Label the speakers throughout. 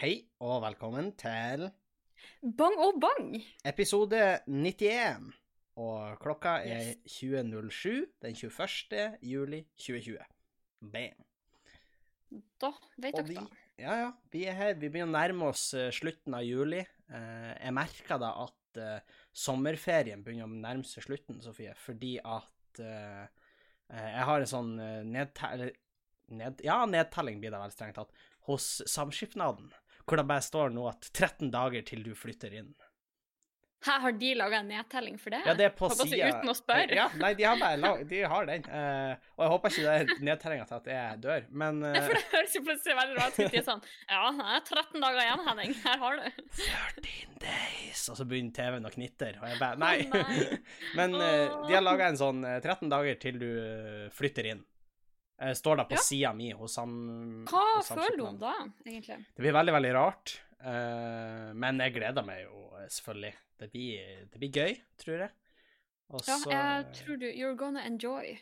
Speaker 1: Hei, og velkommen til
Speaker 2: Bang og bang!
Speaker 1: episode 91. Og klokka er 20.07 den 21. juli 2020. Bam.
Speaker 2: Da vet
Speaker 1: Og
Speaker 2: dere
Speaker 1: vi,
Speaker 2: da.
Speaker 1: ja, ja, vi er her. Vi begynner å nærme oss eh, slutten av juli. Eh, jeg merker da at eh, sommerferien begynner å nærme seg slutten, Sofie, fordi at eh, eh, jeg har en sånn eh, nedte- eller Ned, ja, nedtelling blir det vel strengt tatt. Hos Samskipnaden, hvor det bare står nå at 13 dager til du flytter inn.
Speaker 2: Her har de laga en nedtelling for det?
Speaker 1: Ja, det er på
Speaker 2: Håper å si
Speaker 1: sida
Speaker 2: altså Uten å spørre.
Speaker 1: Ja, nei, de har bare lag... De har den. Eh, og jeg håper ikke det er nedtellinga til at jeg dør, men
Speaker 2: Nei,
Speaker 1: eh,
Speaker 2: For det høres jo plutselig veldig rart ut. De er sånn Ja, det er 13 dager igjen, Henning. Her har du.
Speaker 1: 13 days, og så begynner TV-en å knitter, og jeg bare
Speaker 2: Å,
Speaker 1: Nei.
Speaker 2: nei.
Speaker 1: Men eh, de har
Speaker 2: Åh.
Speaker 1: laga en sånn eh, 13 dager til du eh, flytter inn. Eh, står da på
Speaker 2: Ja.
Speaker 1: sida mi hos sam...
Speaker 2: Hva
Speaker 1: hos
Speaker 2: føler du
Speaker 1: Mm,
Speaker 2: om
Speaker 1: samskipnaden.
Speaker 2: da, egentlig?
Speaker 1: Det blir veldig, veldig rart. eh, men jeg gleder meg jo, eh, selvfølgelig. Det blir, det blir gøy, tror jeg. Og
Speaker 2: Ja,
Speaker 1: så- eh,
Speaker 2: jeg tror du You're gonna enjoy.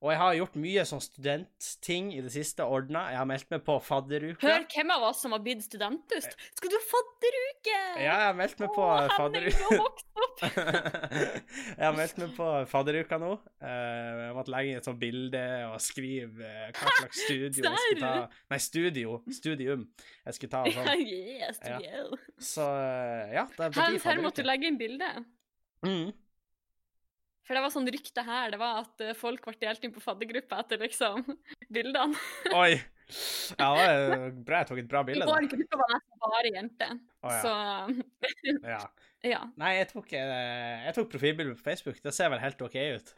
Speaker 1: Og jeg har gjort mye sånn studentting i det siste, ordna. Jeg har meldt meg på fadderuka.
Speaker 2: Hør hvem av oss som har blitt studentpust. Skal du ha fadderuke?
Speaker 1: Eh. Ja, jeg har meldt meg på
Speaker 2: Å, Henning,
Speaker 1: fadderuka.
Speaker 2: du har vokst opp.
Speaker 1: jeg har meldt meg på fadderuka nå. Eh, jeg måtte legge inn et sånt bilde og skrive eh, hva slags studio jeg skulle ta.
Speaker 2: Serr?
Speaker 1: Nei, studio. Studium. Jeg skulle ta og
Speaker 2: Ja,
Speaker 1: sånn.
Speaker 2: yes,
Speaker 1: Ja.
Speaker 2: yeah.
Speaker 1: Så eh, ja, det
Speaker 2: Her,
Speaker 1: betyr
Speaker 2: her måtte du
Speaker 1: fadderuke.
Speaker 2: legge inn bilde.
Speaker 1: Mm.
Speaker 2: For det var sånn rykte her, det var at eh, folk ble delt inn på faddergruppa etter liksom bildene.
Speaker 1: Oi. Ja, det var eh, bra jeg tok et bra bilde. da.
Speaker 2: Vår gruppe var nesten bare jenter.
Speaker 1: Å,
Speaker 2: Så
Speaker 1: ja. ja.
Speaker 2: ja.
Speaker 1: Nei, jeg tok, eh, jeg tok profilbilde på Facebook. Det ser vel helt OK ut.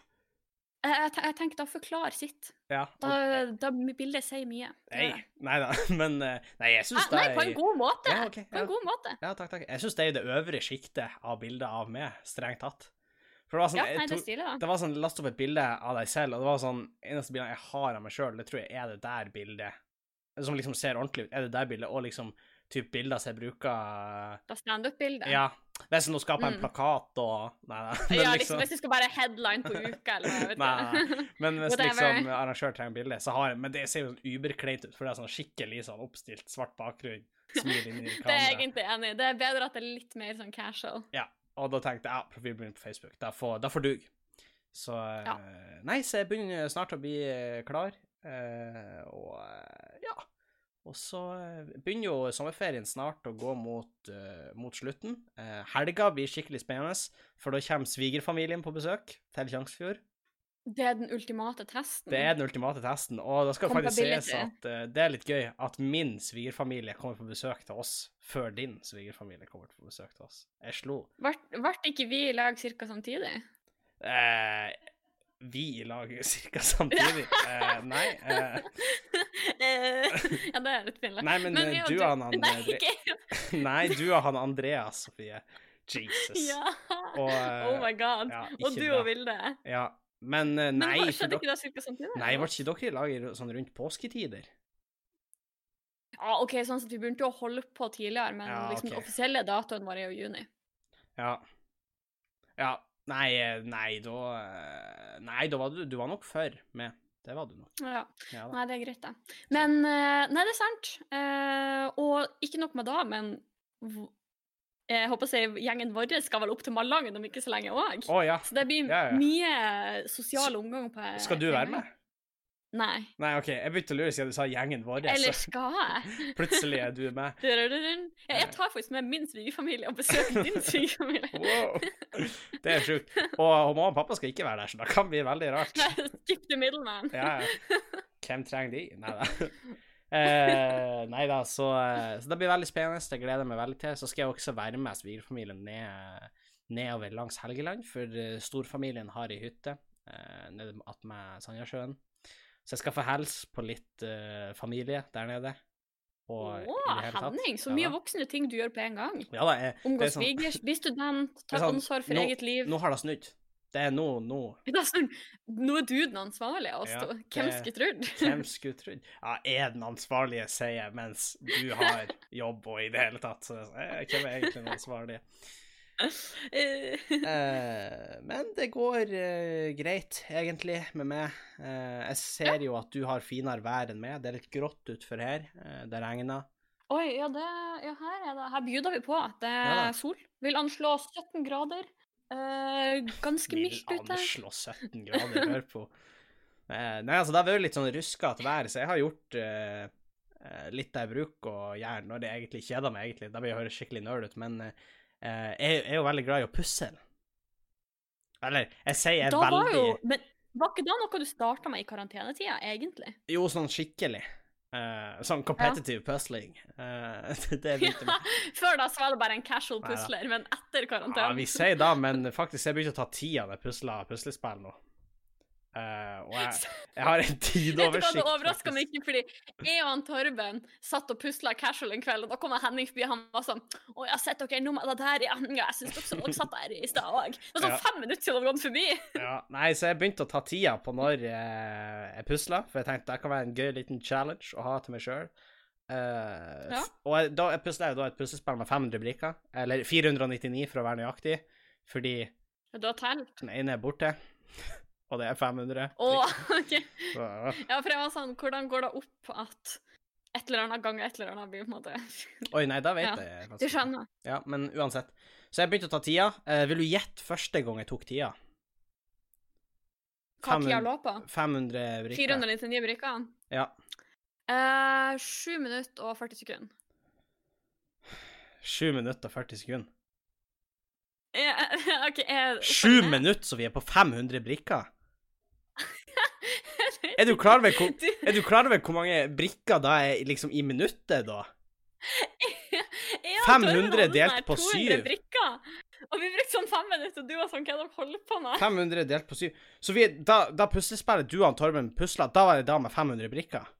Speaker 2: Jeg, jeg te- jeg tenker da forklar sitt.
Speaker 1: Ja.
Speaker 2: Da,
Speaker 1: og-
Speaker 2: da bildet sier mye. Det
Speaker 1: Nei,
Speaker 2: gjør det.
Speaker 1: nei da, men eh, Nei, jeg syns
Speaker 2: Ah,
Speaker 1: det
Speaker 2: nei, på en god måte!
Speaker 1: Ja, ok,
Speaker 2: På
Speaker 1: ja.
Speaker 2: en god måte.
Speaker 1: Ja, takk, takk. Jeg syns det er i det øvre sjiktet av bilder av meg, strengt tatt. For det var sånn,
Speaker 2: Ja, nei,
Speaker 1: jeg
Speaker 2: det er
Speaker 1: tok,
Speaker 2: stilig, da.
Speaker 1: det var sånn last opp et bilde av deg selv, og det var sånn Eneste bildet jeg har av meg sjøl, det tror jeg er det der bildet. Som liksom ser ordentlig ut. Er det der bildet, og liksom typ bilder som jeg bruker
Speaker 2: Da standup-bildet.
Speaker 1: Ja. Hvis jeg nå skaper en
Speaker 2: Mm.
Speaker 1: plakat og Nei, nei. Men
Speaker 2: Ja, liksom,
Speaker 1: liksom,
Speaker 2: hvis du skal bare headline på uka, eller hva, vet
Speaker 1: Nei,
Speaker 2: du.
Speaker 1: men hvis
Speaker 2: Whatever.
Speaker 1: liksom arrangør trenger bilde, så har jeg Men det ser jo sånn uberkleint ut, for det er sånn skikkelig sånn oppstilt svart bakgrunn. Smil inn i
Speaker 2: Det er jeg
Speaker 1: kameraet.
Speaker 2: egentlig enig i. Det er bedre at det er litt mer sånn casual.
Speaker 1: Og da tenkte jeg ja, profilbilde på Facebook, det får, det får dug. Så
Speaker 2: Ja.
Speaker 1: eh, Nei, så jeg begynner snart å bli eh, klar. eh, og eh, ja. Og så eh, begynner jo sommerferien snart å gå mot, eh, mot slutten. Eh, helga blir skikkelig spennende, for da kommer svigerfamilien på besøk til Tjongsfjord.
Speaker 2: Det er den ultimate testen.
Speaker 1: Det er den ultimate testen, og det skal
Speaker 2: Kommer
Speaker 1: faktisk
Speaker 2: på bildet
Speaker 1: sies at eh, det er litt gøy at min svigerfamilie kommer på besøk til oss før din svigerfamilie kommer på besøk til oss. Jeg slo
Speaker 2: Ble ikke vi i lag ca. samtidig?
Speaker 1: Eh, vi i lag ca. samtidig. Eh, nei, eh,
Speaker 2: Eh, ja, det er litt pinlig.
Speaker 1: nei, men, eh,
Speaker 2: ja,
Speaker 1: du og han Andre-
Speaker 2: Nei, ikke
Speaker 1: Nei, du og han Andreas, Sofie. Jesus.
Speaker 2: Ja!
Speaker 1: Og, eh,
Speaker 2: oh my god.
Speaker 1: ja, ikke
Speaker 2: og du
Speaker 1: bra.
Speaker 2: og Vilde.
Speaker 1: Ja. Men eh,
Speaker 2: Men
Speaker 1: nei,
Speaker 2: hva-
Speaker 1: for
Speaker 2: skjedde
Speaker 1: dere,
Speaker 2: ikke det cirka samtidig?
Speaker 1: nei, var ikke dere i lag i sånn rundt påsketider?
Speaker 2: Ja, ok, sånn at Vi begynte å holde på tidligere, men
Speaker 1: Ja,
Speaker 2: liksom,
Speaker 1: ok.
Speaker 2: den offisielle datoen var i juni.
Speaker 1: Ja. Ja. Nei, eh, nei, da eh, Nei, da var du Du var nok før med. Det var du nok.
Speaker 2: Ja,
Speaker 1: Ja da.
Speaker 2: Nei, det er greit, det. Men eh, Nei, det er sant. Eh, og ikke nok med da, men v- eh, jeg håper å si gjengen vår skal vel opp til Malangen om ikke så lenge òg.
Speaker 1: Å ja.
Speaker 2: Så det blir
Speaker 1: Ja, ja.
Speaker 2: mye sosial omgang på
Speaker 1: Skal du
Speaker 2: på en
Speaker 1: være
Speaker 2: gang.
Speaker 1: med?
Speaker 2: Nei.
Speaker 1: Nei, OK, jeg begynte å lure siden du sa gjengen vår,
Speaker 2: Eller
Speaker 1: så
Speaker 2: skal jeg?
Speaker 1: plutselig er du med.
Speaker 2: Drødrødrøn. Ja,
Speaker 1: Eh.
Speaker 2: Jeg tar faktisk med min svigerfamilie og besøker din svigerfamilie.
Speaker 1: Wow. Det er sjukt. Og, og mamma og pappa skal ikke være der, så det kan bli veldig rart.
Speaker 2: Nei, Skip the middleman.
Speaker 1: Ja, ja. Hvem trenger de? Nei da. Eh, nei da, så, eh, så det blir veldig spennende. Jeg gleder meg veldig til. Så skal jeg også være med svigerfamilien ned, nedover langs Helgeland, for eh, storfamilien har ei hytte eh, nede attmed Sandnessjøen. Så jeg skal få hilse på litt eh, familie der nede.
Speaker 2: Å,
Speaker 1: Og i det hele tatt.
Speaker 2: Henning, så
Speaker 1: Ja
Speaker 2: mye
Speaker 1: da.
Speaker 2: voksne ting du gjør på en gang.
Speaker 1: Ja da, jeg, Det er
Speaker 2: Omgås
Speaker 1: sånn-
Speaker 2: svigers, bli student,
Speaker 1: Det
Speaker 2: ta
Speaker 1: er sånn,
Speaker 2: ansvar for
Speaker 1: nå-
Speaker 2: eget liv.
Speaker 1: nå har det snudd. Det er nå, nå
Speaker 2: Det er sånn, nå er du den ansvarlige, og
Speaker 1: Ja,
Speaker 2: stå- hvem
Speaker 1: det-
Speaker 2: skulle trodd?
Speaker 1: Hvem skulle trodd? Ja, er den ansvarlige, sier jeg, mens du har jobb og i det hele tatt. Så eh, hvem er egentlig den ansvarlige?
Speaker 2: Eh,
Speaker 1: Eh, men det går eh, greit, egentlig, med meg. Eh, jeg ser jo at du har finere vær enn meg. Det er litt grått utfor her. Eh, det regner.
Speaker 2: Oi, ja, det, ja her er det Her bjuder vi på. Det er
Speaker 1: Ja da.
Speaker 2: sol. Vil anslå 17 grader. Eh, ganske
Speaker 1: Vil
Speaker 2: mildt ute.
Speaker 1: anslå 17 grader, hør på. Eh, Nei, altså, det har vært litt sånn ruskete vær, så jeg har gjort eh, eh, litt det jeg bruker å gjøre når det egentlig kjeder meg, egentlig. Da blir jeg høres skikkelig nerd ut, men eh, eh, jeg jeg er jo veldig glad i å pusle. Eller, jeg sier jeg er
Speaker 2: Da var
Speaker 1: veldig
Speaker 2: jo Men var ikke da noe du starta med i karantenetida, egentlig?
Speaker 1: Jo, sånn skikkelig. Eh, sånn competitive puzzling. Eh, det begynte
Speaker 2: Ja, Før da så var det bare en casual
Speaker 1: Neida.
Speaker 2: pusler, men etter
Speaker 1: Ja,
Speaker 2: karantenen
Speaker 1: vi sier da, men faktisk, jeg begynte å ta tida med pusla puslespill nå. Eh, og jeg, jeg har en
Speaker 2: Vet du hva,
Speaker 1: tidoversikt.
Speaker 2: det overraska
Speaker 1: faktisk.
Speaker 2: meg ikke, fordi jeg og han Torben satt og pusla casual en kveld, og da kom han Henning forbi, han var sånn Å, jeg har sett dere nå med det der, ja, ja jeg syns dere, dere satt der i stad òg. Det var sånn
Speaker 1: Ja.
Speaker 2: fem minutter siden de hadde gått forbi.
Speaker 1: Ja, nei, så jeg begynte å ta tida på når eh, jeg pusla, for jeg tenkte det kan være en gøy liten challenge å ha til meg sjøl.
Speaker 2: Ja.
Speaker 1: Og jeg, da jeg pusla jeg da et puslespill med 500 brikker, eller 499 for å være nøyaktig, fordi
Speaker 2: Du har telt?
Speaker 1: den ene er borte, og det er 500.
Speaker 2: Å, OK.
Speaker 1: brikker, så-
Speaker 2: Ja, for jeg var sånn Hvordan går det opp at et eller annet ganger et eller annet blir på en måte
Speaker 1: Oi, nei, da vet
Speaker 2: Ja,
Speaker 1: jeg faktisk
Speaker 2: Du
Speaker 1: ikke.
Speaker 2: skjønner?
Speaker 1: Ja, men uansett. Så jeg begynte å ta tida. Eh, vil du gjette første gang jeg tok tida?
Speaker 2: Hva tida
Speaker 1: 500
Speaker 2: lå på?
Speaker 1: 500 brikker.
Speaker 2: 499 brikker?
Speaker 1: Ja.
Speaker 2: Eh, 7 minutter og 40 sekunder.
Speaker 1: 7 minutter og 40 sekunder.
Speaker 2: Eh, OK, jeg
Speaker 1: 7 minutter, så vi er på 500 brikker! Er du klar over hvor,
Speaker 2: Du-
Speaker 1: er du klar over hvor mange brikker da er liksom i minuttet, da?
Speaker 2: Jeg og Torben
Speaker 1: 500
Speaker 2: hadde sånn
Speaker 1: delt
Speaker 2: her
Speaker 1: på
Speaker 2: 200
Speaker 1: syv.
Speaker 2: Brikker. Og vi brukte sånn fem minutter, og du var sånn Hva er det dere holder på med?
Speaker 1: 500 delt på 7. Så vi, da, da puslespillet du og Torben pusla, da var det da med 500 brikker.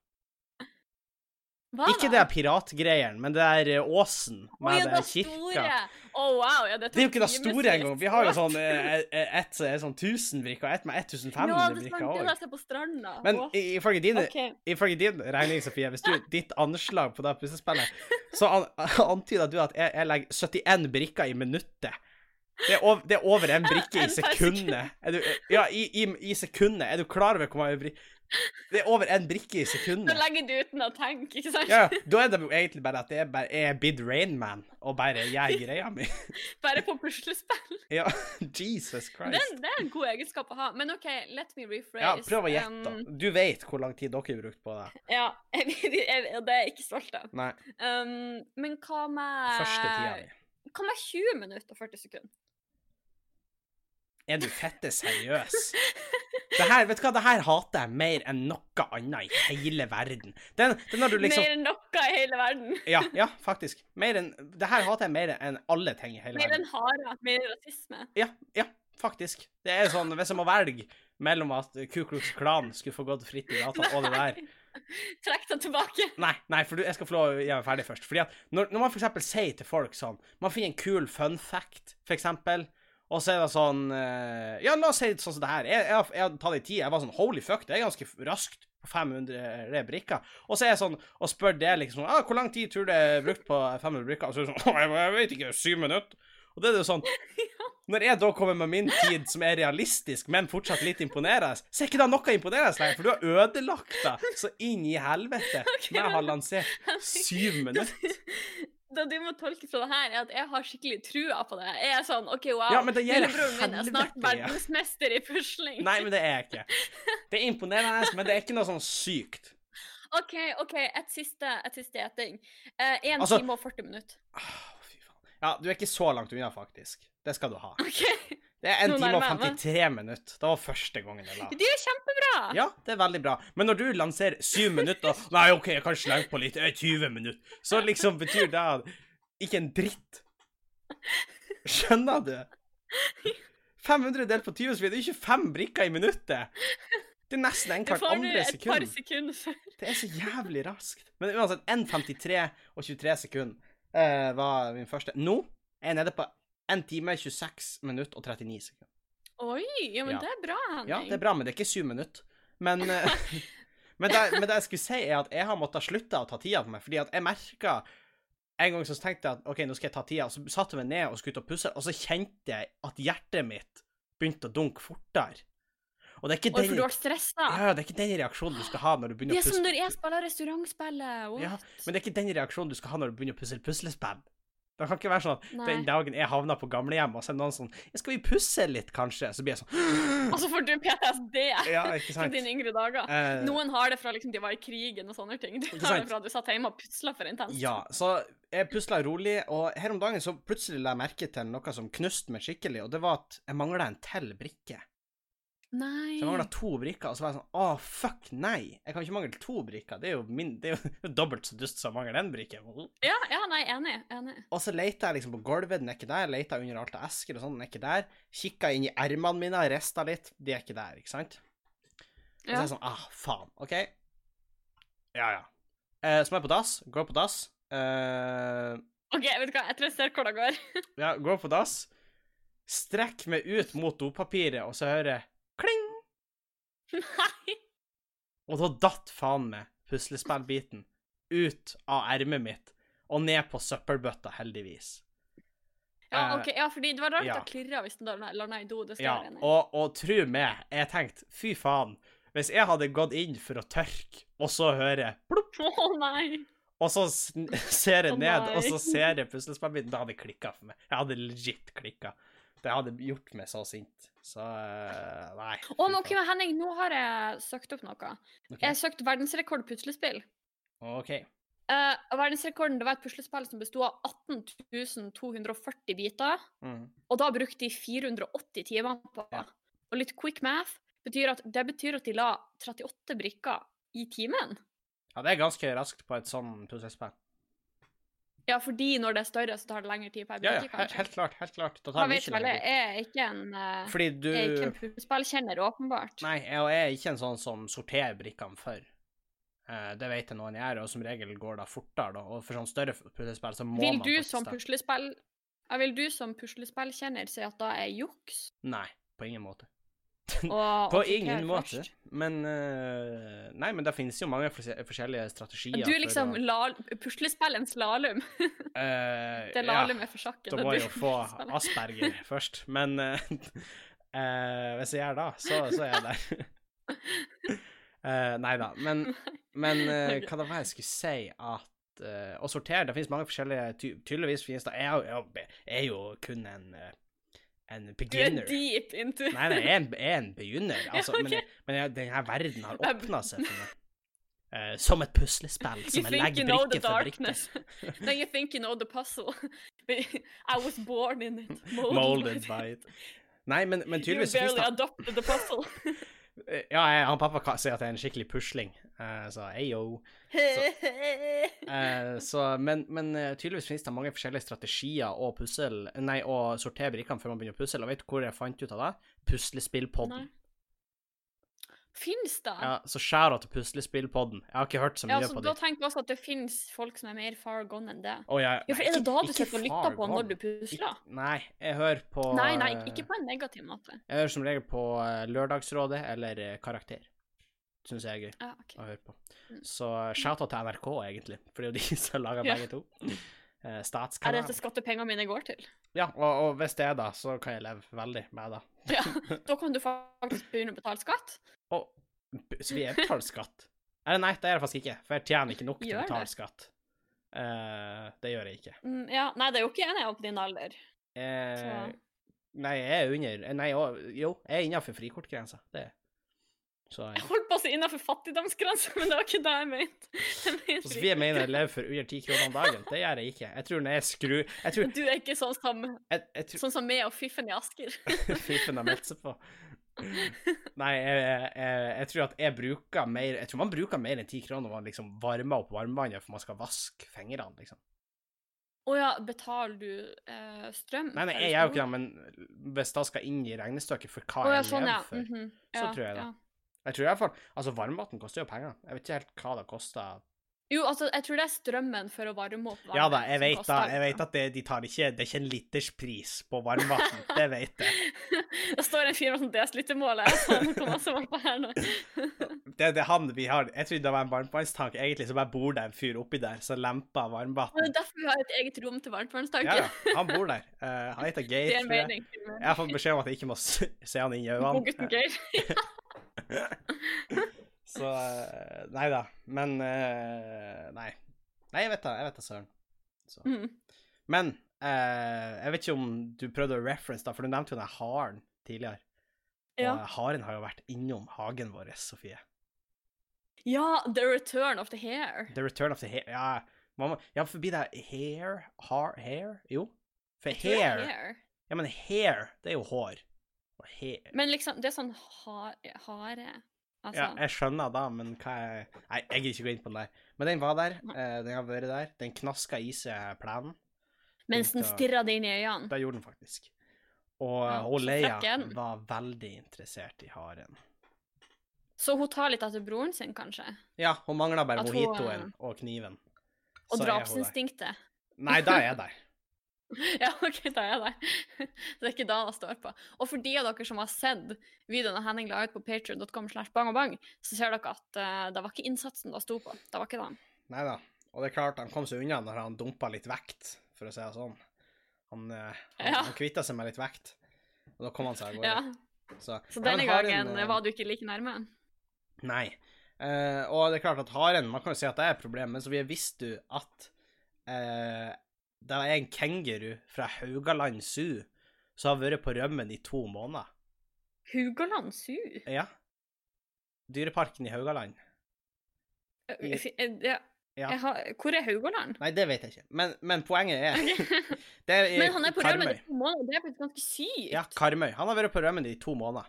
Speaker 2: Hva
Speaker 1: Ikke det piratgreiene, men det der eh, åsen med
Speaker 2: ja,
Speaker 1: det
Speaker 2: det
Speaker 1: kirka.
Speaker 2: store. Å, wow. Ja, det,
Speaker 1: Det er jo ikke det store engang. Vi har jo sånn
Speaker 2: Nå,
Speaker 1: eh, eh, ett som er sånn 1000 brikker, og ett med
Speaker 2: det
Speaker 1: 1500
Speaker 2: er
Speaker 1: brikker
Speaker 2: sånn, det
Speaker 1: òg.
Speaker 2: der som er på stranda.
Speaker 1: Men
Speaker 2: Å,
Speaker 1: i- ifølge din,
Speaker 2: ok.
Speaker 1: ifølge din regning, Sofie, hvis du ditt anslag på det puslespillet, så an, antyder du at jeg, jeg legger 71 brikker i minuttet. Det er, over, det er over en brikke i
Speaker 2: En per
Speaker 1: sekundet. Er du, ja, i, i, i sekundet. Er du klar over hvor mange brikker Det er over en brikke i
Speaker 2: Nå
Speaker 1: sekundet.
Speaker 2: legger du uten å tenke, ikke sant?
Speaker 1: Ja, ja. da er det jo egentlig bare at jeg bare jeg er Bid Rainman og bare gjør greia mi.
Speaker 2: Bare på puslespill.
Speaker 1: Ja, Jesus
Speaker 2: Det,
Speaker 1: Christ.
Speaker 2: det er en god egenskap å ha. Men OK, let me rephrase.
Speaker 1: Ja, prøv å gjette.
Speaker 2: Um,
Speaker 1: da. Du vet hvor lang tid dere brukte på det.
Speaker 2: ja, jeg, jeg, det er ikke stolt av.
Speaker 1: Nei,
Speaker 2: Um, men hva med
Speaker 1: første tida mi.
Speaker 2: Hva med 20 minutter og 40 sekunder?
Speaker 1: Er du fette seriøs? Det her, vet du hva, det her hater jeg mer enn noe annet i hele verden. Den, den har du liksom
Speaker 2: Mer enn noe i hele verden.
Speaker 1: Ja, ja, faktisk. Mer enn Det her hater jeg mer enn alle ting i hele
Speaker 2: Mer enn
Speaker 1: verden.
Speaker 2: hare, mer rasisme.
Speaker 1: Ja, ja, faktisk. Det er sånn, hvis jeg må velge mellom at Ku Klux Klan skulle få gått fritt i gata, og det der
Speaker 2: Trekk den tilbake.
Speaker 1: Nei, nei, for du, jeg skal få lov å gjøre meg ferdig først. Fordi at når, når man for eksempel sier til folk sånn Man finner en kul fun fact, for eksempel, og så er det sånn eh, Ja, la oss si det sånn som det her. Jeg, jeg, har- jeg hadde tatt det i tid. Jeg var sånn Holy fuck, det er ganske f- raskt. på 500 brikker. Og så er jeg sånn og spør det liksom ah, 'Hvor lang tid tror du det er brukt på 500 brikker?' Og så er det sånn «Å, jeg, 'Jeg vet ikke. Syv minutter.' Og det er det jo sånn Når jeg da kommer med min tid, som er realistisk, men fortsatt litt imponerende, så er ikke det noe imponerende lenger, for du har ødelagt det så inn i helvete. Når jeg har lansert syv minutter.
Speaker 2: Det du må tolke fra det her, er at jeg har skikkelig trua på det. Jeg er sånn OK, wow.
Speaker 1: Ja, men det gjelder
Speaker 2: Lillebroren min er snart
Speaker 1: helvete, ja.
Speaker 2: verdensmester i pusling.
Speaker 1: Nei, men det er jeg ikke. Det er imponerende, men det er ikke noe sånn sykt.
Speaker 2: OK, OK, et siste et siste gjetting. Eh, en
Speaker 1: Altså-
Speaker 2: time og 40 minutter.
Speaker 1: Åh, Ah, fy faen. Ja, du er ikke så langt unna, faktisk. Det skal du ha.
Speaker 2: OK.
Speaker 1: Det er en
Speaker 2: Nå
Speaker 1: time og
Speaker 2: nærmer jeg meg.
Speaker 1: 53 minutter. Det var første gangen jeg la.
Speaker 2: Det er jo kjempebra!
Speaker 1: Ja, det er veldig bra. Men når du lanserer syv minutter og Nei, OK, jeg kan slenge på litt. Jeg er 20 minutter. Så liksom betyr det at ikke en dritt. Skjønner du? 500 delt på 20, så blir det ikke fem brikker i minuttet. Det er nesten
Speaker 2: Du
Speaker 1: enhvert
Speaker 2: får nå
Speaker 1: andre
Speaker 2: et par
Speaker 1: sekund.
Speaker 2: sekunder før.
Speaker 1: Det er så jævlig raskt. Men uansett, 1.53 og 23 sekunder eh, var min første. Nå er jeg nede på 1 time, 26 minutter og 39 sekunder.
Speaker 2: Oi, ja, men
Speaker 1: Ja.
Speaker 2: det er bra, Henning.
Speaker 1: Ja, det er bra, men det er ikke syv minutter. Men, eh, men, det, men det jeg skulle si, er at jeg har måttet slutte å ta tida på meg, fordi at jeg merka en gang så tenkte jeg at OK, nå skal jeg ta tida, og så satte jeg meg ned og skulle ut og pusse, og så kjente jeg at hjertet mitt begynte å dunke fortere. Og det er ikke
Speaker 2: Og for
Speaker 1: den,
Speaker 2: du har stressa.
Speaker 1: ja, det er ikke den reaksjonen du skal ha når du
Speaker 2: Det
Speaker 1: begynner
Speaker 2: er
Speaker 1: å
Speaker 2: som
Speaker 1: pusse
Speaker 2: når jeg spiller restaurantspillet. What?
Speaker 1: Ja, Men det er ikke den reaksjonen du skal ha når du begynner å pussle puslespill. Det kan ikke være sånn at
Speaker 2: Nei.
Speaker 1: den dagen jeg havna på gamlehjemmet, og så er det noen sånn «Ja, 'Skal vi pusse litt, kanskje?' Så blir jeg sånn
Speaker 2: Altså får du PTSD
Speaker 1: Ja, ikke
Speaker 2: fra
Speaker 1: sant?
Speaker 2: dine yngre dager.
Speaker 1: Eh,
Speaker 2: Noen har det fra liksom de var i krigen og sånne ting. Du
Speaker 1: Ikke
Speaker 2: har
Speaker 1: sant?
Speaker 2: det fra du satt hjemme og pusla for intenst.
Speaker 1: ja, så jeg pusla rolig, og her om dagen så plutselig la jeg merke til noe som knuste meg skikkelig, og det var at jeg mangla en til brikke. Så
Speaker 2: Nei.
Speaker 1: jeg mangla to brikker, og så var jeg sånn Å, fuck, nei! Jeg kan ikke mangle to brikker, det er jo, min, det er jo dobbelt så dust som å mangle én brikke.
Speaker 2: Ja, ja, nei, enig. enig.
Speaker 1: Og så leita jeg liksom på gulvet, den er ikke der. Leita under alt av esker og sånn, den er ikke der. Kikka inn i ermene mine, rista litt, de er ikke der, ikke sant? Og så
Speaker 2: Ja.
Speaker 1: er jeg sånn, ah, faen, OK. Ja, ja. Eh, så må jeg på dass. Går på dass. Eh,
Speaker 2: OK, vet du hva, jeg tror jeg ser hvor det går.
Speaker 1: ja, går på dass. Strekk meg ut mot dopapiret, og så hører jeg kling!
Speaker 2: Nei.
Speaker 1: Og da datt faen meg puslespillbiten ut av ermet mitt og ned på søppelbøtta, heldigvis. Eh,
Speaker 2: Ja, OK, ja, fordi det var rart
Speaker 1: ja.
Speaker 2: å klirre hvis den da landa i do. Det skal
Speaker 1: Ja,
Speaker 2: jeg være enig i.
Speaker 1: og, og tro meg, jeg tenkte, fy faen, hvis jeg hadde gått inn for å tørke, og så hører jeg plopp,
Speaker 2: Å nei.
Speaker 1: og så sn- ser jeg
Speaker 2: Å,
Speaker 1: ned,
Speaker 2: nei.
Speaker 1: og så ser jeg puslespillbiten, da hadde jeg klikket for meg. Jeg hadde legit klikket. Det hadde gjort meg så sint. Så, eh, nei.
Speaker 2: Å, men OK, men Henning, nå har jeg søkt opp noe.
Speaker 1: Ok.
Speaker 2: Jeg har søkt verdensrekord puslespill.
Speaker 1: OK.
Speaker 2: Eh, og verdensrekorden det var et puslespill som besto av 18 240 biter.
Speaker 1: Mm.
Speaker 2: Og da brukte de 480 timer på
Speaker 1: Ja.
Speaker 2: det. Og litt quick math betyr at det betyr at de la 38 brikker i timen.
Speaker 1: Ja, det er ganske raskt på et sånn puslespill.
Speaker 2: Ja, fordi når det er større, så tar det lengre tid per
Speaker 1: Ja,
Speaker 2: brikke,
Speaker 1: ja, he- helt klart, helt klart. Da tar
Speaker 2: Jeg
Speaker 1: vi
Speaker 2: vet
Speaker 1: ikke
Speaker 2: vel,
Speaker 1: lenger
Speaker 2: jeg
Speaker 1: tid.
Speaker 2: er ikke en, eh,
Speaker 1: Fordi du...
Speaker 2: jeg er ikke en puslespillkjenner, åpenbart.
Speaker 1: Nei, jeg og jeg er ikke en sånn som sorterer brikkene for. Eh, det vet jeg noen gjør, og som regel går det fortere, da. Og for sånn større puslespill så må
Speaker 2: Vil
Speaker 1: man
Speaker 2: du
Speaker 1: faktisk
Speaker 2: som
Speaker 1: det.
Speaker 2: puslespill... Ja, vil du som puslespillkjenner si at da er juks?
Speaker 1: Nei, på ingen måte.
Speaker 2: Og, og
Speaker 1: På
Speaker 2: sortere
Speaker 1: ingen måte.
Speaker 2: først?
Speaker 1: Men eh, Nei, men det finnes jo mange forse- forskjellige strategier.
Speaker 2: Du
Speaker 1: for
Speaker 2: er liksom
Speaker 1: å-
Speaker 2: la, puslespillens slalum.
Speaker 1: Eh,
Speaker 2: Det lalum er for sjakken.
Speaker 1: Da
Speaker 2: og
Speaker 1: må
Speaker 2: du
Speaker 1: jeg jo få
Speaker 2: spiller.
Speaker 1: asperger først, men eh, eh, hvis jeg gjør det, så, så er jeg der. Eh, nei da, men, men eh, hva det var jeg skulle si at eh, Å sortere, det finnes mange forskjellige ty Tydeligvis finnes det Jeg er jo, jeg er jo kun en, eh, en
Speaker 2: Du er
Speaker 1: beginner.
Speaker 2: deep into
Speaker 1: Nei, nei, jeg er en, jeg er en begynner, altså,
Speaker 2: Ja, ok.
Speaker 1: men, jeg- men jeg, denne verden har
Speaker 2: Det er-
Speaker 1: åpna seg for meg. Eh, som et puslespill som jeg legger brikke for brikke.
Speaker 2: Then you think you know the puzzle. I was born in it. Molded,
Speaker 1: Molded by it. Nei, men, men
Speaker 2: You
Speaker 1: tydeligvis så finnes
Speaker 2: barely
Speaker 1: det
Speaker 2: adopted the puzzle.
Speaker 1: Eh, Ja, jeg, han pappa ka- sier at jeg er en skikkelig pusling, eh, så ayo. Eh, så, men, men eh, tydeligvis finnes det mange forskjellige strategier og pussel, nei, å sortere brikkene før man begynner å pussle, og vet du hvor jeg fant ut av det? Puslespillpodden.
Speaker 2: Nei. Fins det?
Speaker 1: Ja, så skjæra til puslespillpodden. Jeg har ikke hørt så
Speaker 2: Ja,
Speaker 1: mye
Speaker 2: så
Speaker 1: på
Speaker 2: da
Speaker 1: det.
Speaker 2: tenker jeg også at det fins folk som er mer far gone enn det.
Speaker 1: Å, ja,
Speaker 2: Ja, for
Speaker 1: nei,
Speaker 2: er det da
Speaker 1: ikke-
Speaker 2: du
Speaker 1: ikke
Speaker 2: sitter og lytter
Speaker 1: far
Speaker 2: på når
Speaker 1: gone.
Speaker 2: du pusler?
Speaker 1: Ik- Nei, jeg hører på
Speaker 2: Nei, nei,
Speaker 1: eh,
Speaker 2: ikke på en negativ måte.
Speaker 1: Jeg hører som regel på eh, Lørdagsrådet eller eh, Karakter. Syns jeg er gøy.
Speaker 2: Ja, ok.
Speaker 1: å høre på.
Speaker 2: Mm.
Speaker 1: Så shout-out til NRK, egentlig, for det er jo de som lager
Speaker 2: Ja.
Speaker 1: begge to. Eh,
Speaker 2: Er det
Speaker 1: Statskanal.
Speaker 2: dette skattepengene mine går til?
Speaker 1: Ja, og, og hvis det er da, så kan jeg leve veldig med det.
Speaker 2: Ja, Da kan du faktisk begynne å betale skatt.
Speaker 1: Og b- så vi er betalt skatt. Eller nei, det er jeg faktisk ikke, for jeg tjener ikke nok til å
Speaker 2: Gjør
Speaker 1: betale
Speaker 2: det.
Speaker 1: skatt. Eh, det gjør jeg ikke.
Speaker 2: Mm, Ja, Nei, det er jo ikke en jeg er på din alder.
Speaker 1: Eh,
Speaker 2: Så-
Speaker 1: nei, jeg er under Nei, og, jo, jeg er innafor frikortgrensa. Det er jeg. Så
Speaker 2: Jeg
Speaker 1: ja.
Speaker 2: holdt på å si innenfor fattigdomsgrensa, men det var ikke det jeg mente. Jeg mente
Speaker 1: Og Sofie
Speaker 2: ikke-
Speaker 1: mener jeg lever for under ti kroner om dagen. Det gjør jeg ikke. Jeg tror når jeg skrur Jeg tror,
Speaker 2: Du er ikke sånn som,
Speaker 1: jeg, jeg tror
Speaker 2: sånn som meg og fiffen i Asker.
Speaker 1: Fiffen har meldt seg på. Nei, jeg, jeg, jeg tror at jeg bruker mer Jeg tror man bruker mer enn ti kroner når man liksom varmer opp varmvannet for man skal vaske fingrene, liksom.
Speaker 2: Å ja, betaler du eh, strøm? sånn?
Speaker 1: Nei, nei, jeg gjør jo ikke det, men hvis det skal inn i regnestykket for hva
Speaker 2: Å ja,
Speaker 1: jeg
Speaker 2: sånn, ja.
Speaker 1: lever for
Speaker 2: Mhm.
Speaker 1: så
Speaker 2: Ja,
Speaker 1: tror jeg det.
Speaker 2: ja.
Speaker 1: Jeg tror i hvert fall Altså, varmvann koster jo penger. Jeg vet ikke helt hva det koster.
Speaker 2: Jo, altså, jeg tror det er strømmen for å varme opp vannet.
Speaker 1: Ja da, jeg
Speaker 2: som
Speaker 1: vet da,
Speaker 2: koster,
Speaker 1: jeg vet
Speaker 2: liksom.
Speaker 1: at det, de tar ikke Det er ikke en literspris på varmvann, det vet jeg.
Speaker 2: det står en fyr med sånn desilitermål her, sånn på masse opp her nå.
Speaker 1: Det, det er han vi har Jeg trodde det var en varmtvannstank, egentlig, så bare bor det en fyr oppi der som lemper
Speaker 2: Og det
Speaker 1: varmvann.
Speaker 2: er derfor vi har et eget rom til varmtvannstanken.
Speaker 1: Ja, ja. Han bor der. Eh, han heter Geir.
Speaker 2: det er en
Speaker 1: tror jeg.
Speaker 2: mening.
Speaker 1: Jeg har fått beskjed om at jeg ikke må s- se han inn i øynene.
Speaker 2: Godgutten Geir.
Speaker 1: Så eh, Nei da. Men eh, Nei. Nei, jeg vet da, jeg vet da søren. Så.
Speaker 2: Mm.
Speaker 1: Men eh, jeg vet ikke om du prøvde å reference, da, for du nevnte jo den haren tidligere. Og eh,
Speaker 2: Ja.
Speaker 1: haren har jo vært innom hagen vår, Sofie.
Speaker 2: ja, The Return of the Hair.
Speaker 1: The return of the hair Ja, mamma, ja forbi deg hair Har Hair? Jo. For
Speaker 2: Tror jeg
Speaker 1: hair Ja, men hair, det er jo hår. Og hair
Speaker 2: Men liksom, det er sånn har, hare. Altså.
Speaker 1: Ja, jeg skjønner da, men hva er Nei, jeg gidder ikke gå inn på den der. Men den var der.
Speaker 2: Nei.
Speaker 1: eh, Den har vært der. Den knaska i seg plenen.
Speaker 2: mens den
Speaker 1: begynte å-
Speaker 2: stirra det inn i øynene.
Speaker 1: Det gjorde den faktisk. Og ja,
Speaker 2: Ja, så
Speaker 1: Leia
Speaker 2: frekk er den.
Speaker 1: var veldig interessert i haren.
Speaker 2: Så hun tar litt etter broren sin, kanskje.
Speaker 1: Ja, hun mangla bare
Speaker 2: At hun,
Speaker 1: mojitoen og kniven.
Speaker 2: eh, Og
Speaker 1: Så er hun der.
Speaker 2: drapsinstinktet.
Speaker 1: Nei, da er jeg der.
Speaker 2: Ja, OK, da er jeg der. Det er ikke da det står på. Og for de av dere som har sett videoen av Henning la ut på patreon.com slash bang og bang, så ser dere at eh, det var ikke innsatsen det sto på. Det var ikke den.
Speaker 1: Nei da. Og det er klart, han kom seg unna når han dumpa litt vekt, for å si det sånn. Han, eh, han,
Speaker 2: Ja.
Speaker 1: han kvitta seg med litt vekt, og da kom han seg av
Speaker 2: Ja.
Speaker 1: gårde. Så,
Speaker 2: Så
Speaker 1: Ja, men
Speaker 2: denne
Speaker 1: har
Speaker 2: gangen
Speaker 1: en, eh,
Speaker 2: var du ikke like nærme.
Speaker 1: Nei. Eh, og det er klart at haren Man kan jo si at det er et problem, men så vi visste jo at eh, det er en kenguru fra Haugaland Zoo som har vært på rømmen i to måneder.
Speaker 2: Hugoland Zoo?
Speaker 1: Ja. Dyreparken i Haugaland.
Speaker 2: Eh,
Speaker 1: I-
Speaker 2: fi- eh, Ja.
Speaker 1: Ja.
Speaker 2: Jeg har, hvor er Haugaland?
Speaker 1: Nei, det vet jeg ikke, men, men poenget er
Speaker 2: Ok.
Speaker 1: det er i
Speaker 2: Men han er på rømmen i
Speaker 1: Karmøy.
Speaker 2: to måneder, det er faktisk ganske sykt.
Speaker 1: Ja, Karmøy. Han har vært på rømmen i to måneder.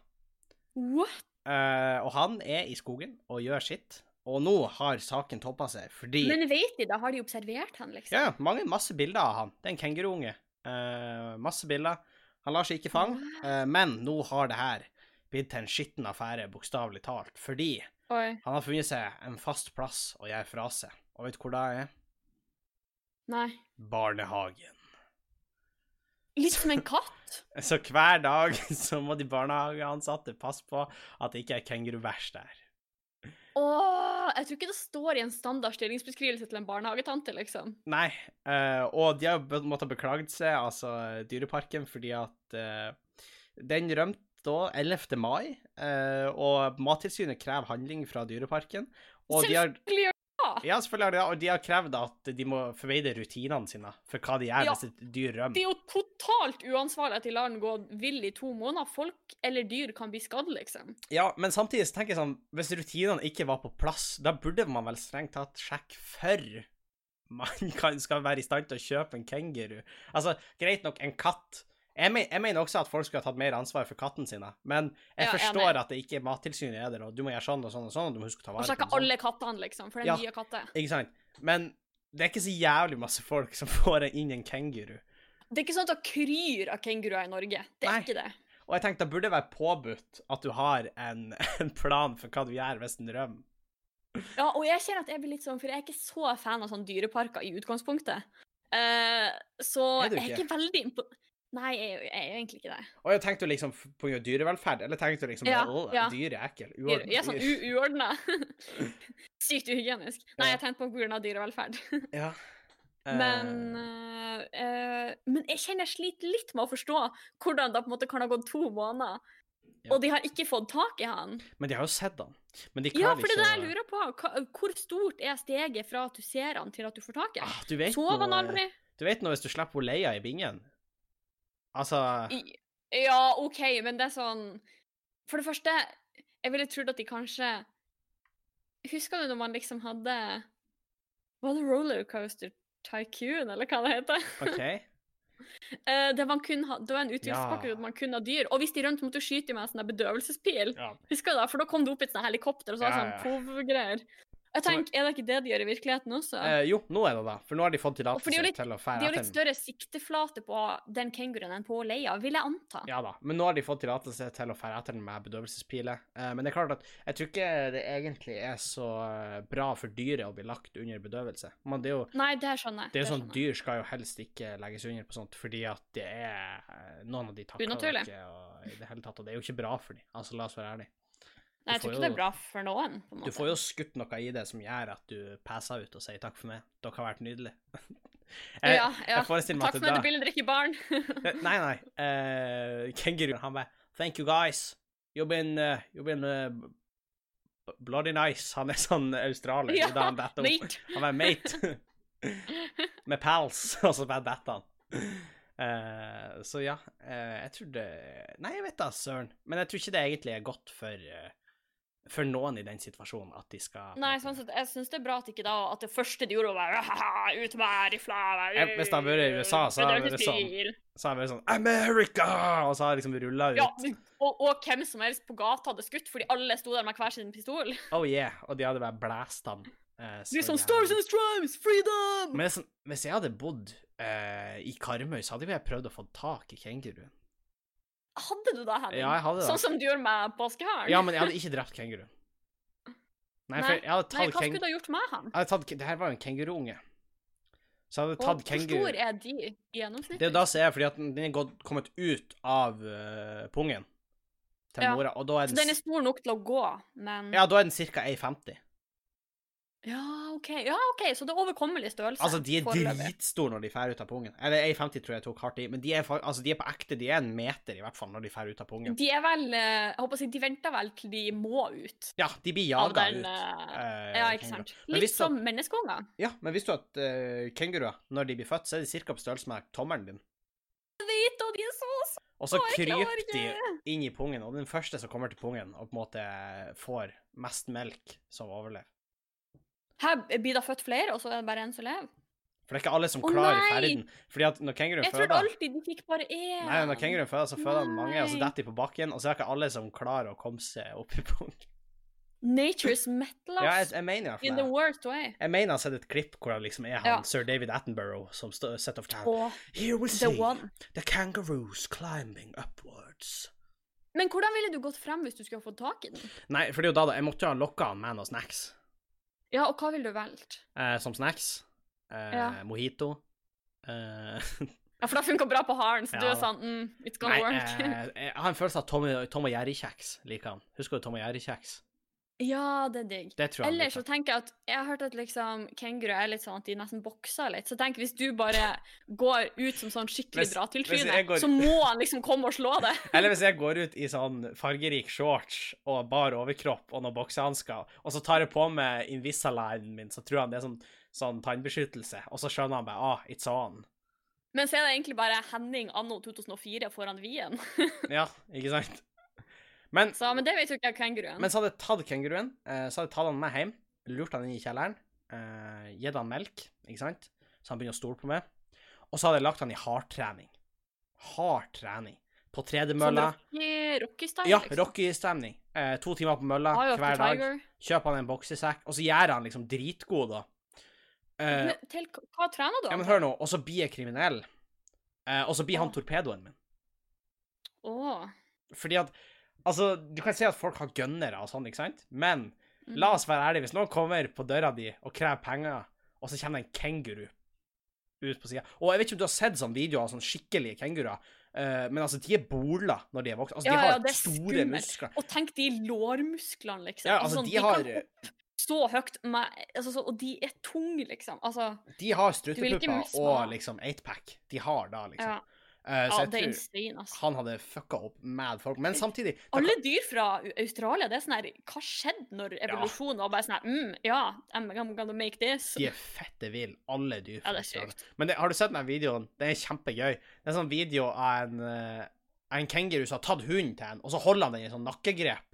Speaker 2: What?
Speaker 1: Eh, og han er i skogen og gjør sitt. Og nå har saken toppa seg, fordi
Speaker 2: Men vet de da, har de observert han, liksom?
Speaker 1: Ja, ja, mange, masse bilder av han. Det er en kenguruunge. Eh, masse bilder. Han lar seg ikke fange, eh, men nå har det her blitt til en skitten affære, bokstavelig talt, fordi
Speaker 2: Oi,
Speaker 1: han har funnet seg en fast plass å gjøre fra seg. Og vet du hvor det er?
Speaker 2: nei.
Speaker 1: Barnehagen.
Speaker 2: Litt som en katt?
Speaker 1: Så hver dag så må de barnehageansatte passe på at det ikke er kenguruvers der.
Speaker 2: Åh, jeg tror ikke det står i en standard stillingsbeskrivelse til en barnehagetante, liksom.
Speaker 1: Nei, eh, og de har be- måttet beklage seg, altså dyreparken, fordi at eh, den rømte da 11. mai, eh, og Mattilsynet krever handling fra dyreparken. Og de har,
Speaker 2: Selvfølgelig gjør-
Speaker 1: ja, selvfølgelig har de, det, og de har krevd at de må forbedre rutinene sine for hva de gjør
Speaker 2: Ja.
Speaker 1: hvis et dyr
Speaker 2: Det
Speaker 1: rømmer.
Speaker 2: er jo totalt uansvarlig at de lar den gå vill i to måneder. Folk eller dyr kan bli skadd, liksom.
Speaker 1: Ja, men samtidig så tenker jeg sånn, hvis rutinene ikke var på plass, da burde man vel strengt tatt sjekke for man kan, skal være i stand til å kjøpe en kenguru. Altså, greit nok, en katt. Jeg, men, jeg mener også at folk skulle ha tatt mer ansvar for katten sine, men jeg
Speaker 2: Ja, jeg
Speaker 1: forstår
Speaker 2: mener.
Speaker 1: at det ikke er Mattilsynet er der, og du må gjøre sånn og sånn og sånn, og du må huske å ta
Speaker 2: Og
Speaker 1: vare på
Speaker 2: sjekke
Speaker 1: den. sånn.
Speaker 2: alle kattene, liksom, for det
Speaker 1: Ja.
Speaker 2: er nye katter.
Speaker 1: Ikke sant? Men det er ikke så jævlig masse folk som får inn en kenguru.
Speaker 2: Det er ikke sånn at det kryr av kenguruer i Norge. Det er
Speaker 1: Nei.
Speaker 2: ikke det.
Speaker 1: Og jeg tenkte det burde være påbudt at du har en, en plan for hva du gjør hvis den rømmer.
Speaker 2: Ja, og jeg kjenner at jeg blir litt sånn, for jeg er ikke så fan av sånne dyreparker i utgangspunktet. Eh, så
Speaker 1: Er du
Speaker 2: jeg er
Speaker 1: ikke?
Speaker 2: ikke veldig impo... Nei, jeg, er jo- jeg er jo egentlig ikke det.
Speaker 1: Og jeg tenkte liksom på grunn av dyrevelferd, eller tenkte du liksom
Speaker 2: Ja,
Speaker 1: «Åh,
Speaker 2: ja.
Speaker 1: dyr er ekkel,
Speaker 2: Dyr,
Speaker 1: uordnet
Speaker 2: jeg er sånn
Speaker 1: dyr».
Speaker 2: u- uordna. Sykt uhygienisk. Nei,
Speaker 1: Ja.
Speaker 2: jeg tenkte på pga. dyrevelferd.
Speaker 1: Ja. Eh,
Speaker 2: Men, eh, eh, men jeg kjenner jeg sliter litt med å forstå hvordan det på en måte kan ha gått to måneder,
Speaker 1: Ja.
Speaker 2: og de har ikke fått tak i han.
Speaker 1: Men de har jo sett han. Men de klarer
Speaker 2: Ja, for det er det jeg
Speaker 1: å-
Speaker 2: lurer på. Hva- Hvor stort er steget fra at du ser han, til at du får tak i han?
Speaker 1: Ah, du vet
Speaker 2: Sov han
Speaker 1: nå-
Speaker 2: aldri?
Speaker 1: Du vet nå hvis du slipper hun Leia i bingen. Altså
Speaker 2: I- Ja, OK, men det er sånn For det første, jeg ville trodd at de kanskje Husker du når man liksom hadde Var det rollercoaster tycoon, eller hva det heter?
Speaker 1: OK.
Speaker 2: Eh, der man kun ha, det var en utviklingspakke
Speaker 1: Ja.
Speaker 2: der man kun hadde dyr. Og hvis de rømte, måtte du skyte dem med en sånn der bedøvelsespil.
Speaker 1: Ja.
Speaker 2: Husker du det? For da kom det opp et sånt helikopter og så var det
Speaker 1: Ja,
Speaker 2: sånn pov-greier. Jeg tenker, Er det ikke det de gjør i virkeligheten også?
Speaker 1: Eh, jo, nå er det det. For nå har de fått
Speaker 2: for det er jo
Speaker 1: tillatelse
Speaker 2: litt-
Speaker 1: til å
Speaker 2: de har
Speaker 1: fære
Speaker 2: litt
Speaker 1: etter den.
Speaker 2: større sikteflate på den kenguruen enn på leia, vil jeg anta.
Speaker 1: Ja da. Men nå har de fått tillatelse til å fære etter den med bedøvelsespile. Eh, men det er klart at jeg tror ikke det egentlig er så eh, bra for dyret å bli lagt under bedøvelse. Men det er jo
Speaker 2: Nei, det skjønner jeg.
Speaker 1: det er jo sånn,
Speaker 2: skjønner jeg.
Speaker 1: Dyr skal jo helst ikke legges under på sånt, fordi at det er eh, Noen av de takler det
Speaker 2: Unaturlig.
Speaker 1: ikke og, i det hele tatt, og det er jo ikke bra for dem. Altså, la oss være ærlige.
Speaker 2: Nei, jeg
Speaker 1: får
Speaker 2: tror ikke
Speaker 1: jo-
Speaker 2: det er bra for noen. på en måte.
Speaker 1: Du får jo skutt noe i det som gjør at du passer ut og sier takk for meg. Dere har vært nydelige. Jeg,
Speaker 2: ja, ja.
Speaker 1: jeg forestiller meg
Speaker 2: Takk
Speaker 1: at
Speaker 2: for at du
Speaker 1: det
Speaker 2: ville drikke barn.
Speaker 1: da Nei, nei. eh, Kenguruen, han bare Thank you, guys. eh, You've been, uh, you've been uh, Bloody nice. Han er sånn australier.
Speaker 2: Ja,
Speaker 1: Ja, da han detter opp.
Speaker 2: Mate.
Speaker 1: Han var en mate. Med pals, og så bare detter han. Eh, så ja, eh, jeg tror det Nei, jeg vet da, søren. Men jeg tror ikke det egentlig er godt for, eh, for noen i den situasjonen at de skal
Speaker 2: Nei, sånn sett, jeg syns det er bra at ikke da at det første de gjorde, var bare ut med her i
Speaker 1: Ja, hvis det hadde vært i USA, så hadde det vært
Speaker 2: sånn.
Speaker 1: Så har jeg bare sånn America! Og så har jeg liksom rulla ut.
Speaker 2: Ja, og, og hvem som helst på gata hadde skutt, fordi alle sto der med hver sin pistol.
Speaker 1: Oh yeah. Og de hadde bare blæst han. eh, så
Speaker 2: Du er sånn
Speaker 1: jævlig.
Speaker 2: Stars and Stripes, freedom!
Speaker 1: Men det er sånn, hvis jeg hadde bodd eh, i Karmøy, så hadde jo jeg prøvd å få tak i kenguruen.
Speaker 2: Hadde du det, Henning?
Speaker 1: Ja, jeg hadde det.
Speaker 2: Sånn som du gjorde med påskeharen?
Speaker 1: Ja, men jeg hadde ikke drept kenguruen. Nei, for
Speaker 2: Nei.
Speaker 1: jeg hadde
Speaker 2: Nei,
Speaker 1: tatt
Speaker 2: hva
Speaker 1: keng...
Speaker 2: skulle du ha gjort med han?
Speaker 1: Jeg hadde tatt... Det her var jo en kenguruunge. Så jeg hadde
Speaker 2: Og
Speaker 1: tatt
Speaker 2: hvor stor
Speaker 1: kenguru...
Speaker 2: er de i gjennomsnitt?
Speaker 1: Det er jo da som er fordi at den er gått, kommet ut av eh, pungen til
Speaker 2: Ja.
Speaker 1: mora, og da er
Speaker 2: Så
Speaker 1: den,
Speaker 2: den er
Speaker 1: s-
Speaker 2: stor nok til å gå, men
Speaker 1: ja, da er den ca. 1,50.
Speaker 2: Ja, OK, ja, ok, så det er overkommelig størrelse.
Speaker 1: Altså, de er
Speaker 2: foreløpig.
Speaker 1: dritstore når de fer ut av pungen. Eller 1,50 tror jeg tok hardt i, men de er, fa- altså, de er på ekte. De er en meter, i hvert fall, når de fer ut av pungen.
Speaker 2: De er vel eh, Jeg håper å si, de venter vel til de må ut
Speaker 1: Ja, de blir
Speaker 2: av
Speaker 1: jaga ut.
Speaker 2: den eh,
Speaker 1: eh,
Speaker 2: Ja, ikke
Speaker 1: kenguru.
Speaker 2: sant.
Speaker 1: Men
Speaker 2: Litt
Speaker 1: hvis du-
Speaker 2: som menneskeunger.
Speaker 1: Ja, men visste du at uh, kenguruer, når de blir født, så er de ca. på størrelse med tommelen din.
Speaker 2: Jeg vet, og de er så små!
Speaker 1: Og så
Speaker 2: Jeg klarer
Speaker 1: kryper de
Speaker 2: ikke!
Speaker 1: inn i pungen, og den første som kommer til pungen og på en måte får mest melk, som overlever.
Speaker 2: Her blir det født flere, og så er det bare en som lever.
Speaker 1: For det er ikke alle som
Speaker 2: Å,
Speaker 1: klarer
Speaker 2: nei!
Speaker 1: ferden. Fordi at når kenguruen
Speaker 2: Jeg trodde
Speaker 1: føder
Speaker 2: alltid de fikk bare én.
Speaker 1: Nei, når kenguruen føder, så føder den mange, og så
Speaker 2: Nei.
Speaker 1: detter de på bakken, og så er det ikke alle som klarer å komme seg opp i pungen.
Speaker 2: Nature's metal
Speaker 1: Ja, jeg,
Speaker 2: ass.
Speaker 1: jeg mener i hvert
Speaker 2: in the
Speaker 1: fall det.
Speaker 2: worst way.
Speaker 1: Jeg mener jeg har sett et klipp hvor det liksom er han
Speaker 2: Ja.
Speaker 1: sir David Attenborough som står set of town.
Speaker 2: Og
Speaker 1: Here we
Speaker 2: the
Speaker 1: see
Speaker 2: one.
Speaker 1: the kangaroos climbing upwards.
Speaker 2: Men hvordan ville du gått frem hvis du skulle ha fått tak i den?
Speaker 1: Nei, for det er jo da da Jeg måtte jo ha lokka han med noen snacks.
Speaker 2: Ja, og hva ville du valgt?
Speaker 1: Eh, som snacks. Eh,
Speaker 2: Ja.
Speaker 1: Mojito. Eh,
Speaker 2: Ja, for det funka bra på haren, så du
Speaker 1: Ja,
Speaker 2: er
Speaker 1: da.
Speaker 2: sånn mm, It's gonna
Speaker 1: nei,
Speaker 2: work.
Speaker 1: eh, jeg har en følelse av Tom, Tom og Jerry-kjeks liker han. Husker du Tom og Jerry-kjeks?
Speaker 2: ja, det er digg.
Speaker 1: Det tror jeg han
Speaker 2: Eller så
Speaker 1: liker.
Speaker 2: tenker jeg at Jeg har hørt at liksom kenguru er litt sånn at de nesten bokser litt. Så tenk, hvis du bare går ut som sånn skikkelig
Speaker 1: Hvis-
Speaker 2: dra til trynet,
Speaker 1: hvis jeg går-
Speaker 2: så må han liksom komme og slå deg.
Speaker 1: Eller hvis jeg går ut i sånn fargerik shorts og bar overkropp og noen boksehansker, og så tar jeg på meg Invisalignen min, så tror han det er sånn, sånn tannbeskyttelse, og så skjønner han bare ah, it's on.
Speaker 2: Men så er det egentlig bare Henning anno 2004 foran Wien.
Speaker 1: Ja, ikke sant? Men
Speaker 2: Så, men det vet jo ikke jeg kenguruen.
Speaker 1: Men så hadde jeg tatt kenguruen, eh, så hadde jeg tatt han med hjem, lurt han inn i kjelleren, eh, gitt han melk, ikke sant, så han begynner å stole på meg, og så hadde jeg lagt han i hardtrening. Hardtrening. På tredemølla.
Speaker 2: Rocky- Rocky-style,
Speaker 1: Ja,
Speaker 2: liksom.
Speaker 1: Rocky-stemning. Eh, to timer på mølla
Speaker 2: Eye of the
Speaker 1: hver dag.
Speaker 2: tiger.
Speaker 1: Kjøper han en boksesekk, og så gjør han liksom dritgod, da. Eh,
Speaker 2: Men til, hva trener du?
Speaker 1: ja, men
Speaker 2: han
Speaker 1: hør nå, og så blir jeg kriminell. Eh, og så blir han
Speaker 2: Åh.
Speaker 1: torpedoen min.
Speaker 2: på? Åh.
Speaker 1: Fordi at Altså, du kan si at folk har gønnere og sånn, ikke sant? Men
Speaker 2: Mm.
Speaker 1: La oss være ærlige. Hvis noen kommer på døra di og krever penger, og så kommer det en kenguru ut på sida Og jeg vet ikke om du har sett sånne videoer av sånne skikkelige kenguruer, eh, men altså, de er bola når de er voksne. Altså,
Speaker 2: Ja,
Speaker 1: de har
Speaker 2: ja, det er
Speaker 1: store
Speaker 2: skummelt.
Speaker 1: muskler.
Speaker 2: Og tenk de lårmusklene, liksom.
Speaker 1: Ja, altså,
Speaker 2: sånn,
Speaker 1: de, har,
Speaker 2: kan stå høyt med altså, så, Og de er tunge, liksom. Altså,
Speaker 1: de har
Speaker 2: vil ikke
Speaker 1: strutepupper
Speaker 2: miste
Speaker 1: og
Speaker 2: meg.
Speaker 1: liksom eightpack. De har da, liksom.
Speaker 2: ja.
Speaker 1: Eh,
Speaker 2: ja,
Speaker 1: så jeg
Speaker 2: det er
Speaker 1: tror
Speaker 2: insane, altså.
Speaker 1: han hadde fucka opp mad folk. Men samtidig da
Speaker 2: Alle dyr fra U- Australia, det er sånn her Hva skjedde når evolusjonen var bare sånn her mm, Ja, I'm I'm gonna make this.
Speaker 1: De er fette ville, alle dyr.
Speaker 2: Ja, det er
Speaker 1: faktisk, alle.
Speaker 2: sykt.
Speaker 1: Men det, har du sett den videoen? Den er kjempegøy. Det er en sånn video av en, eh, en kenguru som har tatt hunden til en, og så holder han den i sånn nakkegrep.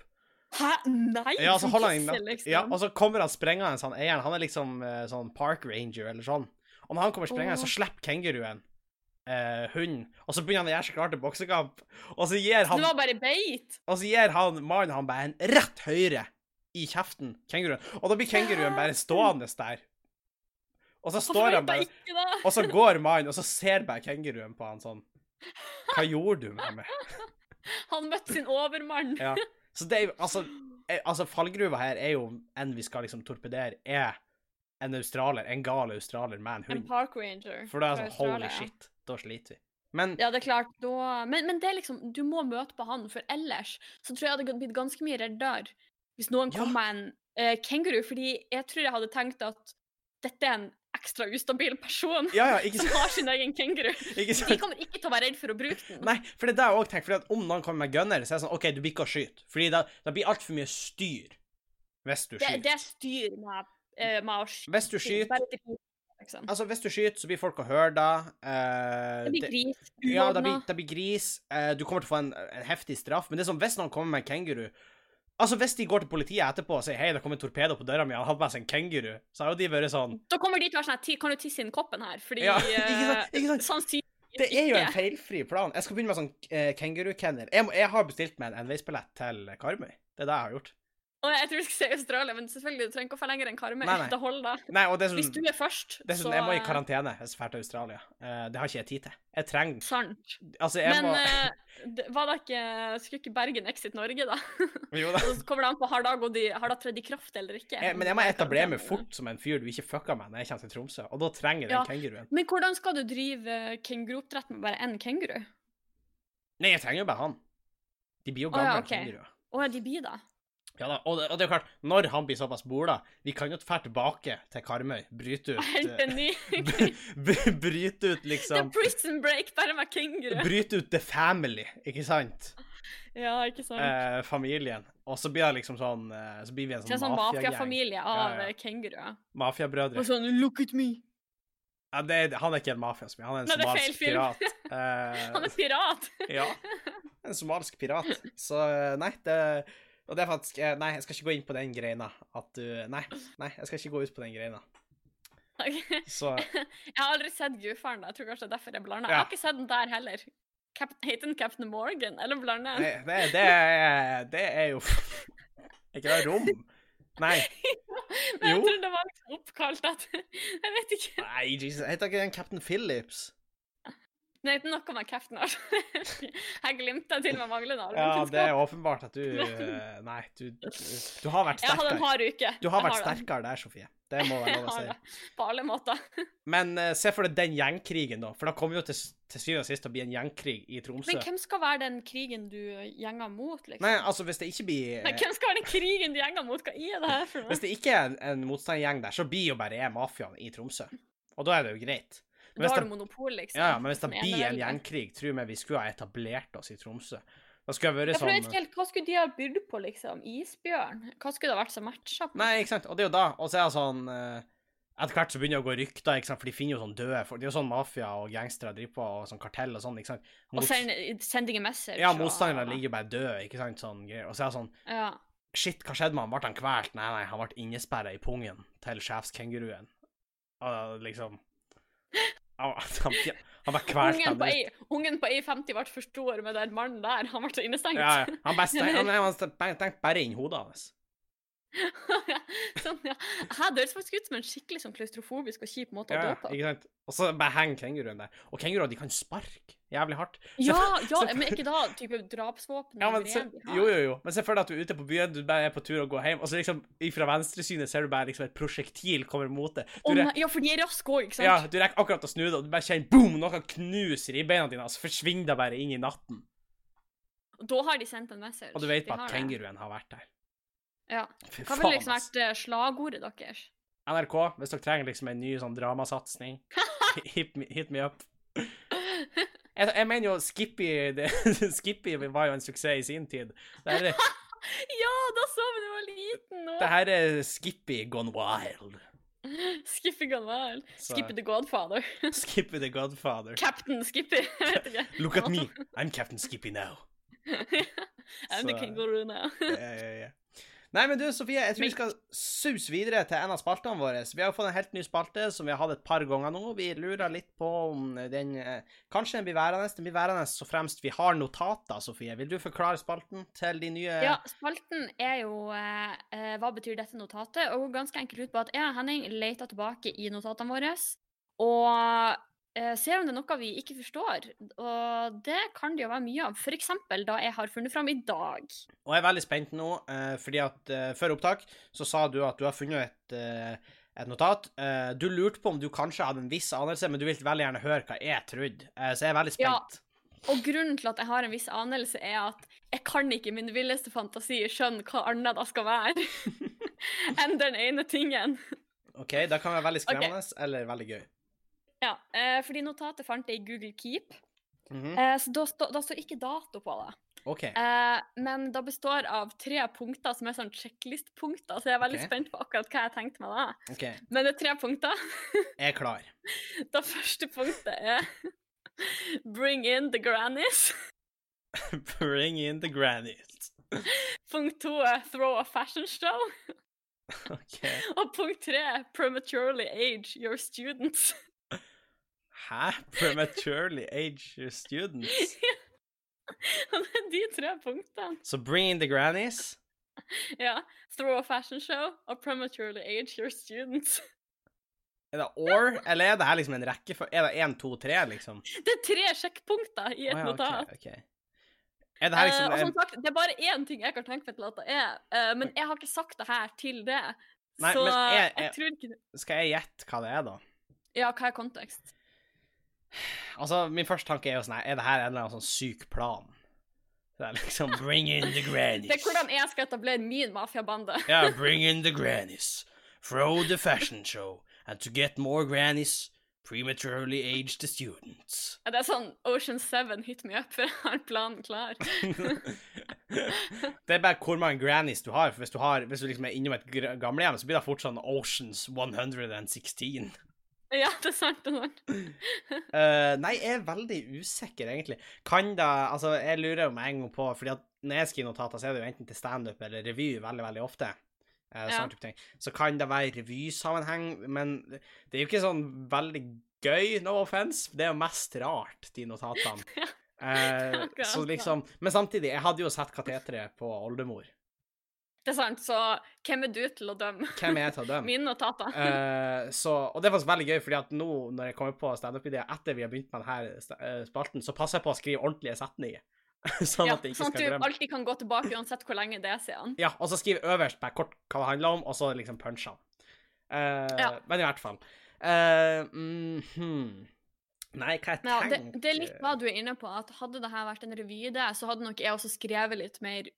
Speaker 2: Hæ? Nei!
Speaker 1: Ja, så
Speaker 2: som
Speaker 1: holder han i
Speaker 2: gissel,
Speaker 1: nak-
Speaker 2: liksom.
Speaker 1: ja, altså, og så kommer han sprengende, sånn eieren. Han er liksom eh, sånn park ranger eller sånn. Og når han kommer sprengende, så
Speaker 2: Åh.
Speaker 1: slipper kenguruen eh, hunden, og så begynner han å gjøre seg klar til boksekamp, og så gir han
Speaker 2: Det var bare beit.
Speaker 1: og så gir han mannen han bare en rett høyre i kjeften, kenguruen. Og da blir kenguruen bare stående der. Og så
Speaker 2: Hvorfor
Speaker 1: står han
Speaker 2: vet jeg
Speaker 1: bare
Speaker 2: ikke det?
Speaker 1: Og så går mannen, og så ser bare kenguruen på han sånn Hva gjorde du med meg?
Speaker 2: Han møtte sin overmann.
Speaker 1: Ja. Så det er jo Altså, eh, altså fallgruva her er jo en vi skal liksom torpedere, er en australier, en gal australier med en
Speaker 2: En
Speaker 1: hund.
Speaker 2: park ranger.
Speaker 1: For da er
Speaker 2: fra
Speaker 1: det sånn holy
Speaker 2: Australia.
Speaker 1: shit, da sliter vi. Men
Speaker 2: Ja, det er klart. Da... Men, men det er liksom, du må møte på han, for ellers så tror jeg jeg hadde blitt ganske mye reddere hvis noen
Speaker 1: Ja.
Speaker 2: kom med en eh, kenguru, fordi jeg tror jeg hadde tenkt at dette er en ekstra ustabil person
Speaker 1: Ja, ja, ikke
Speaker 2: som har sin egen kenguru.
Speaker 1: Ikke
Speaker 2: De
Speaker 1: sant?
Speaker 2: kommer ikke til å være redd for å bruke den.
Speaker 1: Nei, for det er det jeg òg tenker. Fordi at om noen kommer med gunner, så er det sånn OK, du blir ikke å skyte. Fordi da, da blir altfor mye styr. Hvis du
Speaker 2: Det, det
Speaker 1: skyter.
Speaker 2: styrer meg, eh, meg å skyte.
Speaker 1: Hvis du skyter
Speaker 2: Bare drite, liksom.
Speaker 1: Altså, hvis du skyter, så blir folk å høre da. eh,
Speaker 2: Det blir
Speaker 1: det-
Speaker 2: gris.
Speaker 1: Ja, det
Speaker 2: uordnet.
Speaker 1: blir, det blir gris. Eh, du kommer til å få en, en heftig straff. Men det er sånn, hvis noen kommer med en kenguru Altså, Hvis de går til politiet etterpå og sier hei, det kom en torpedo på døra mi, jeg har hatt med seg en kenguru, så har jo de vært sånn
Speaker 2: Da kommer de til å være sånn her, «Ti- Kan du tisse inn koppen her? Fordi eh,
Speaker 1: Ja, ikke sant? Ikke sant?
Speaker 2: Sannsynligvis
Speaker 1: Det er jo en
Speaker 2: ikke.
Speaker 1: feilfri plan. Jeg skal begynne med sånn eh, kengurukenner. Jeg, må- jeg har bestilt meg en enveisbillett til Karmøy. Det er det jeg har gjort.
Speaker 2: Og jeg tror vi skal si Australia, men selvfølgelig, du trenger ikke å forlenge den karmen.
Speaker 1: Nei, sånn- nei.
Speaker 2: Det holder.
Speaker 1: Nei, og
Speaker 2: Hvis du
Speaker 1: dessuten,
Speaker 2: er først,
Speaker 1: dessuten sånn, jeg må i karantene hvis jeg drar til Australia. Eh, det har ikke jeg tid til. Jeg trenger
Speaker 2: Sant.
Speaker 1: Altså, jeg
Speaker 2: Men
Speaker 1: må
Speaker 2: eh, det- var det ikke Skulle ikke Bergen exit Norge, da?
Speaker 1: Jo da.
Speaker 2: Og så kommer det an på har da, gått i, har da tredd i kraft eller ikke.
Speaker 1: Jeg, men jeg må etablere meg fort som en fyr du ikke fucka med når jeg kommer til Tromsø, og da trenger jeg den
Speaker 2: Ja.
Speaker 1: kenguruen.
Speaker 2: Men hvordan skal du drive kenguruoppdrett med bare én kenguru?
Speaker 1: Nei, jeg trenger jo bare han. De blir jo
Speaker 2: Å ja,
Speaker 1: gamle
Speaker 2: ok.
Speaker 1: kenguruer.
Speaker 2: Å ja, de blir da.
Speaker 1: Ja da, og det, og det er jo klart, når han blir såpass bola Vi kan jo dra tilbake til Karmøy, bryte ut
Speaker 2: Helt
Speaker 1: eh,
Speaker 2: en ny
Speaker 1: bry- bry- Bryte ut,
Speaker 2: Det er
Speaker 1: liksom
Speaker 2: prison break, bare med kenguru.
Speaker 1: Bryte ut the family, ikke sant?
Speaker 2: Ja, ikke sant?
Speaker 1: Eh, familien. Og så blir det liksom sånn eh, Så blir vi en
Speaker 2: Til en
Speaker 1: sånn
Speaker 2: sånn
Speaker 1: mafiagjeng.
Speaker 2: mafiafamilie av
Speaker 1: Ja, ja.
Speaker 2: eh, kenguruer.
Speaker 1: Mafiabrødre.
Speaker 2: Og sånn Look at me!
Speaker 1: Ja, det er- han er ikke en mafiasmi, han er en
Speaker 2: Nei, det er feil
Speaker 1: somalisk
Speaker 2: film.
Speaker 1: pirat.
Speaker 2: Han
Speaker 1: Eh,
Speaker 2: er pirat!
Speaker 1: ja. En somalisk pirat. Så eh, nei, det Og det er faktisk eh, Nei, jeg skal ikke gå inn på den greina at du Nei, nei, jeg skal ikke gå ut på den greina.
Speaker 2: Ok.
Speaker 1: Så
Speaker 2: Jeg har aldri sett Gudfaren. da. Jeg tror kanskje det er derfor jeg blander.
Speaker 1: Ja.
Speaker 2: Jeg har ikke sett den der heller. Cap Heter den Captain Morgan, eller blander jeg?
Speaker 1: Det, det, det, er, det er jo Er ikke det rom? Nei.
Speaker 2: Men jeg
Speaker 1: jo.
Speaker 2: tror det var liksom oppkalt etter Jeg vet ikke.
Speaker 1: Nei, Jesus. Heter ikke den Captain Phillips?
Speaker 2: Det heter noe med Captain Arch. Jeg glimta til med manglende
Speaker 1: Ja, det er
Speaker 2: allmennkunnskap.
Speaker 1: åpenbart at du eh, Nei, du, du har vært
Speaker 2: Jeg hadde
Speaker 1: sterkere.
Speaker 2: en hard uke.
Speaker 1: Du har
Speaker 2: Jeg
Speaker 1: vært
Speaker 2: det.
Speaker 1: sterkere der, Sofie. Det må være
Speaker 2: Jeg
Speaker 1: lov å
Speaker 2: har
Speaker 1: si.
Speaker 2: det. På alle måter.
Speaker 1: Men eh, se for deg den gjengkrigen, da. For da kommer jo til, s- til syvende og sist til å bli en gjengkrig i Tromsø.
Speaker 2: Men hvem skal være den krigen du gjenger mot, liksom?
Speaker 1: Nei, altså, hvis det ikke blir
Speaker 2: Nei, hvem skal være den krigen du gjenger mot? Hva er det her for noe?
Speaker 1: Hvis det ikke er en, en motstandergjeng der, så blir jo bare jeg mafiaen i Tromsø. Og da er det jo greit. Men
Speaker 2: Da
Speaker 1: hvis
Speaker 2: har
Speaker 1: det-
Speaker 2: du monopol, liksom.
Speaker 1: Ja, ja, men hvis det
Speaker 2: som
Speaker 1: blir en
Speaker 2: eneveldet.
Speaker 1: gjengkrig, tro meg, vi skulle ha etablert oss i Tromsø. Da skulle jeg
Speaker 2: Ja,
Speaker 1: vært
Speaker 2: for jeg vet
Speaker 1: sånn
Speaker 2: ikke helt, Hva skulle de ha bydd på, liksom? Isbjørn? Hva skulle det ha vært som matcha? på?
Speaker 1: Nei, ikke sant. Og det er jo da. Og så er det sånn eh, Etter hvert så begynner det å gå rykter, ikke sant, for de finner jo sånn døde folk. Det er jo sånn mafia og gangstere driver på, og sånn kartell og sånn, ikke sant.
Speaker 2: Og
Speaker 1: Mot-
Speaker 2: send, sending a message.
Speaker 1: ja,
Speaker 2: og-
Speaker 1: motstanderne ligger jo bare døde, ikke sant, sånn greier. Og så er det sånn
Speaker 2: Ja.
Speaker 1: Shit, hva skjedde med han? Ble han kvalt? Nei, nei, han ble innesperra i pungen til sjefskenguruen. Og liksom Han, han, han ble kvalt
Speaker 2: Ungen på,
Speaker 1: av
Speaker 2: ei, ungen på A50 ble for stor med den mannen der. Han ble så innestengt.
Speaker 1: Ja, ja. Han bare steng- han, han steng- tenkte bare inn hodet hans.
Speaker 2: sånn, ja. Her døres faktisk ut som en skikkelig sånn klaustrofobisk og kjip måte
Speaker 1: Ja,
Speaker 2: å
Speaker 1: ja,
Speaker 2: dø på.
Speaker 1: ikke sant? Og så bare henger kenguruen der. Og kenguruer de kan sparke jævlig hardt.
Speaker 2: Ja,
Speaker 1: så-
Speaker 2: ja, men er ikke da type drapsvåpen?
Speaker 1: Ja,
Speaker 2: og
Speaker 1: men se,
Speaker 2: greier de har?
Speaker 1: jo, jo, jo. Men se for deg at du er ute på byen, du bare er på tur og går hjem, og så liksom fra venstresynet ser du bare liksom et prosjektil kommer mot deg.
Speaker 2: Å
Speaker 1: Du, re
Speaker 2: nei, ja, for de er raske òg, ikke sant?
Speaker 1: ja, du rekker akkurat å snu deg, og du bare kjenner boom, noe knuser i beina dine, og så forsvinner det bare inn i natten.
Speaker 2: Og Da har de sendt en message.
Speaker 1: Og du vet
Speaker 2: De
Speaker 1: bare
Speaker 2: har
Speaker 1: at
Speaker 2: det.
Speaker 1: kenguruen har vært der.
Speaker 2: Ja.
Speaker 1: Fy
Speaker 2: Hva ville
Speaker 1: faen,
Speaker 2: liksom
Speaker 1: ass.
Speaker 2: vært eh, slagordet deres?
Speaker 1: NRK, hvis dere trenger liksom en ny sånn dramasatsning, hit, me- hit me up. Jeg, jeg mener jo Skippy det, Skippy var jo en suksess i sin tid. Det her, er-
Speaker 2: Ja, da så vi du var liten nå!
Speaker 1: det her er Skippy gone wild.
Speaker 2: Skippy Gunvald.
Speaker 1: Så-
Speaker 2: Skippy the Godfather.
Speaker 1: Skippy the Godfather.
Speaker 2: Captain Skippy. Jeg vet ikke.
Speaker 1: Look at me, I'm Captain Skippy now.
Speaker 2: I'm the
Speaker 1: Så-
Speaker 2: kangaroo now.
Speaker 1: Ja, ja, ja. Nei, men du, Sofie, jeg tror vi
Speaker 2: Men-
Speaker 1: skal suse videre til en av spaltene våre. Vi har fått en helt ny spalte som vi har hatt et par ganger nå. Vi lurer litt på om den eh, Kanskje den blir værende. Den blir værende så fremst vi har notater, Sofie. Vil du forklare spalten til de nye
Speaker 2: Ja, spalten er jo eh, eh, Hva betyr dette notatet? Og går ganske enkelt ut på at jeg og Henning leter tilbake i notatene våre og eh, ser om det er noe vi ikke forstår. Og det kan det jo være mye av. F.eks. da jeg har funnet fram i dag.
Speaker 1: Og jeg er veldig spent nå, eh, fordi at eh, før opptak så sa du at du har funnet et, eh, et notat. Eh, du lurte på om du kanskje hadde en viss anelse, men du ville veldig gjerne høre hva jeg trodde. Eh, så jeg er veldig
Speaker 2: Ja.
Speaker 1: spent.
Speaker 2: Og grunnen til at jeg har en viss anelse, er at jeg kan ikke i min villeste fantasi skjønne hva annet det skal være enn den ene tingen.
Speaker 1: OK, da kan det være veldig
Speaker 2: Ok.
Speaker 1: skremmende eller veldig gøy.
Speaker 2: Ja, eh, fordi notatet fant jeg i Google Keep,
Speaker 1: Mhm.
Speaker 2: eh, så da, stå- da står ikke dato på det.
Speaker 1: OK.
Speaker 2: Eh, men da består av tre punkter som er sånn sjekklistpunkter, så jeg er veldig
Speaker 1: Ok.
Speaker 2: spent på akkurat hva jeg tenkte meg da.
Speaker 1: ok, Jeg
Speaker 2: Men det er tre punkter.
Speaker 1: er klar.
Speaker 2: Det første punktet er Bring in the grannies.
Speaker 1: Bring in the grannies.
Speaker 2: Punkt to er throw a fashion show.
Speaker 1: OK.
Speaker 2: Og punkt tre er prematurely age your students.
Speaker 1: Hæ? Prematurely aged students?
Speaker 2: Og det er de tre punktene.
Speaker 1: Så bring in the grannies.
Speaker 2: Ja. Throw a fashion show og prematurely age your students.
Speaker 1: Er det or, eller er det her liksom en rekke for Er det én, to, tre, liksom?
Speaker 2: Det er tre sjekkpunkter i et
Speaker 1: Å ja, ok,
Speaker 2: notat.
Speaker 1: ok. Er det her
Speaker 2: Eh,
Speaker 1: liksom
Speaker 2: og som
Speaker 1: en,
Speaker 2: sagt, det er bare én ting jeg kan tenke meg til at det er, eh, men jeg har ikke sagt det her til det.
Speaker 1: Nei,
Speaker 2: så
Speaker 1: men jeg-
Speaker 2: jeg,
Speaker 1: jeg-
Speaker 2: tror ikke
Speaker 1: Skal jeg gjette hva det er, da?
Speaker 2: Ja, hva er kontekst?
Speaker 1: Altså, min første tanke er jo sånn her, Er det her en eller annen sånn syk plan? Det er liksom Bring in the grannies.
Speaker 2: Det er hvordan jeg skal etablere min mafiabande.
Speaker 1: Ja, bring in the grannies. Throw the fashion show. And to get more grannies, prematurely age the students.
Speaker 2: Det er sånn Ocean Seven hit me up, for jeg har planen klar.
Speaker 1: det er bare hvor mange grannies du har. For hvis du, har, hvis du liksom er innom et gr- gamlehjem, så blir det fort sånn Oceans 116.
Speaker 2: Ja, det er sant. Det er sant.
Speaker 1: Eh, nei, jeg er veldig usikker, egentlig. Kan da Altså, jeg lurer jo med en gang på Fordi at når jeg skriver notater, så er det jo enten til standup eller revy veldig, veldig ofte. Eh,
Speaker 2: Ja.
Speaker 1: sånn type ting. Så kan det være revysammenheng, men det er jo ikke sånn veldig gøy, no offense. Det er jo mest rart, de notatene. Eh,
Speaker 2: akkurat
Speaker 1: så liksom Men samtidig, jeg hadde jo sett kateteret på oldemor.
Speaker 2: Det er sant, så hvem er du til å dømme?
Speaker 1: Hvem er jeg til å dømme?
Speaker 2: Mine notater.
Speaker 1: Eh, så, og det er faktisk veldig gøy, fordi at nå når jeg kommer på standup-ideer etter vi har begynt med denne sta- eh, spalten, så passer jeg på å skrive ordentlige setninger. sånn
Speaker 2: ja,
Speaker 1: at jeg ikke
Speaker 2: sånn at
Speaker 1: skal
Speaker 2: du
Speaker 1: glemme.
Speaker 2: alltid kan gå tilbake uansett hvor lenge det er siden.
Speaker 1: Ja, og så skrive øverst bare kort hva det handler om, og så liksom punchene. Eh,
Speaker 2: Ja.
Speaker 1: Men i hvert fall. Eh, mm, hmm. Nei, hva jeg
Speaker 2: Men ja, det,
Speaker 1: tenker
Speaker 2: det er litt hva du er inne på, at hadde det her vært en revyide, så hadde nok jeg også skrevet litt mer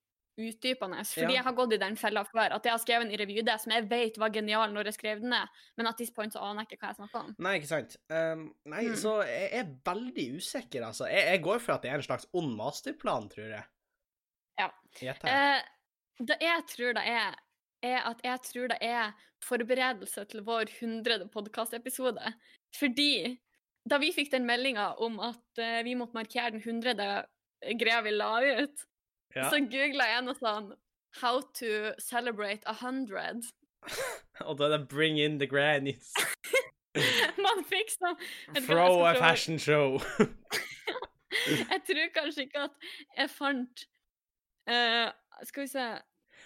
Speaker 2: utdypende. Fordi
Speaker 1: Ja.
Speaker 2: jeg har gått i den fella før, at jeg har skrevet en revyide som jeg vet var genial når jeg skrev den ned, men at this point så aner jeg ikke hva jeg snakker om.
Speaker 1: Nei, ikke sant. Um, nei,
Speaker 2: Mm.
Speaker 1: så jeg er veldig usikker, altså. Jeg, jeg går for at det er en slags ond masterplan, tror jeg.
Speaker 2: Ja.
Speaker 1: Gjett her.
Speaker 2: Eh, det jeg tror det er, er at jeg tror det er forberedelse til vår 100. podkastepisode. Fordi da vi fikk den meldinga om at eh, vi måtte markere den 100. greia vi la ut,
Speaker 1: Ja.
Speaker 2: så googla jeg noe sånn How to celebrate 100.
Speaker 1: Og da er det 'bring in the grannies'.
Speaker 2: Man fikk sånn Jeg tror jeg
Speaker 1: Throw
Speaker 2: skal
Speaker 1: a
Speaker 2: prøve-
Speaker 1: fashion show.
Speaker 2: Jeg tror kanskje ikke at jeg fant eh, Skal vi se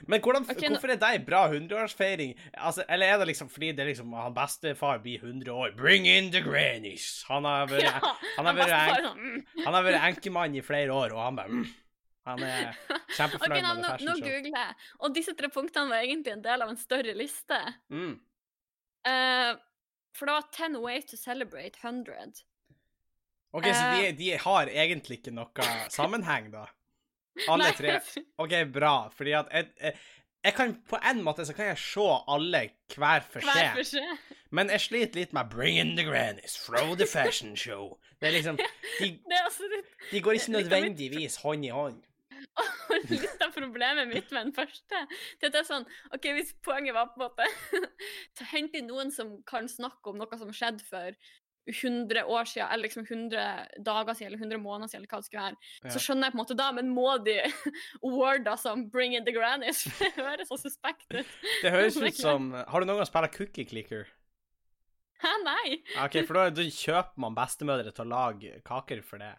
Speaker 1: Men hvordan,
Speaker 2: Ok, nå-
Speaker 1: hvorfor er det en bra 100-årsfeiring? Altså, eller er det liksom fordi det er liksom han bestefar blir 100 år? Bring in the grannies! Han har vært,
Speaker 2: Ja,
Speaker 1: han har vært,
Speaker 2: bestefar
Speaker 1: enk-
Speaker 2: sånn, mm.
Speaker 1: han har vært enkemann i flere år, og han bare mm. Han er
Speaker 2: Ok,
Speaker 1: kjempefornøyd
Speaker 2: nå,
Speaker 1: med
Speaker 2: nå,
Speaker 1: det
Speaker 2: nå
Speaker 1: fashion show.
Speaker 2: googler jeg. Og disse tre punktene var egentlig en del av en større liste.
Speaker 1: Mm.
Speaker 2: Eh, for det var 10 ways to celebrate 100.
Speaker 1: OK, så de,
Speaker 2: Eh.
Speaker 1: de har egentlig ikke noe sammenheng, da? Alle tre? OK, bra. Fordi at jeg, jeg, jeg kan På en måte så kan jeg se alle hver for seg.
Speaker 2: Hver for seg.
Speaker 1: Men jeg sliter litt med 'bring in the grannies', 'throw the fashion show'. Det er liksom De,
Speaker 2: Det er også litt,
Speaker 1: de går ikke
Speaker 2: Litt av mitt-
Speaker 1: nødvendigvis hånd i hånd.
Speaker 2: og litt av problemet mitt med den første. Det er at det er sånn, ok, Hvis poenget var på en måte ta Hent inn noen som kan snakke om noe som skjedde for 100 år siden, eller liksom 100 dager siden, eller 100 måneder siden, eller hva det skulle være.
Speaker 1: Ja.
Speaker 2: Så skjønner jeg på en måte da, men må de worda som 'bring in the grannies'? Det høres så suspekt ut.
Speaker 1: Det høres
Speaker 2: Det er
Speaker 1: ut som Har du noen gang spilt Cookie Clicker?
Speaker 2: Hæ, nei?
Speaker 1: Ja, OK, for da, da kjøper man bestemødre til å lage kaker for det.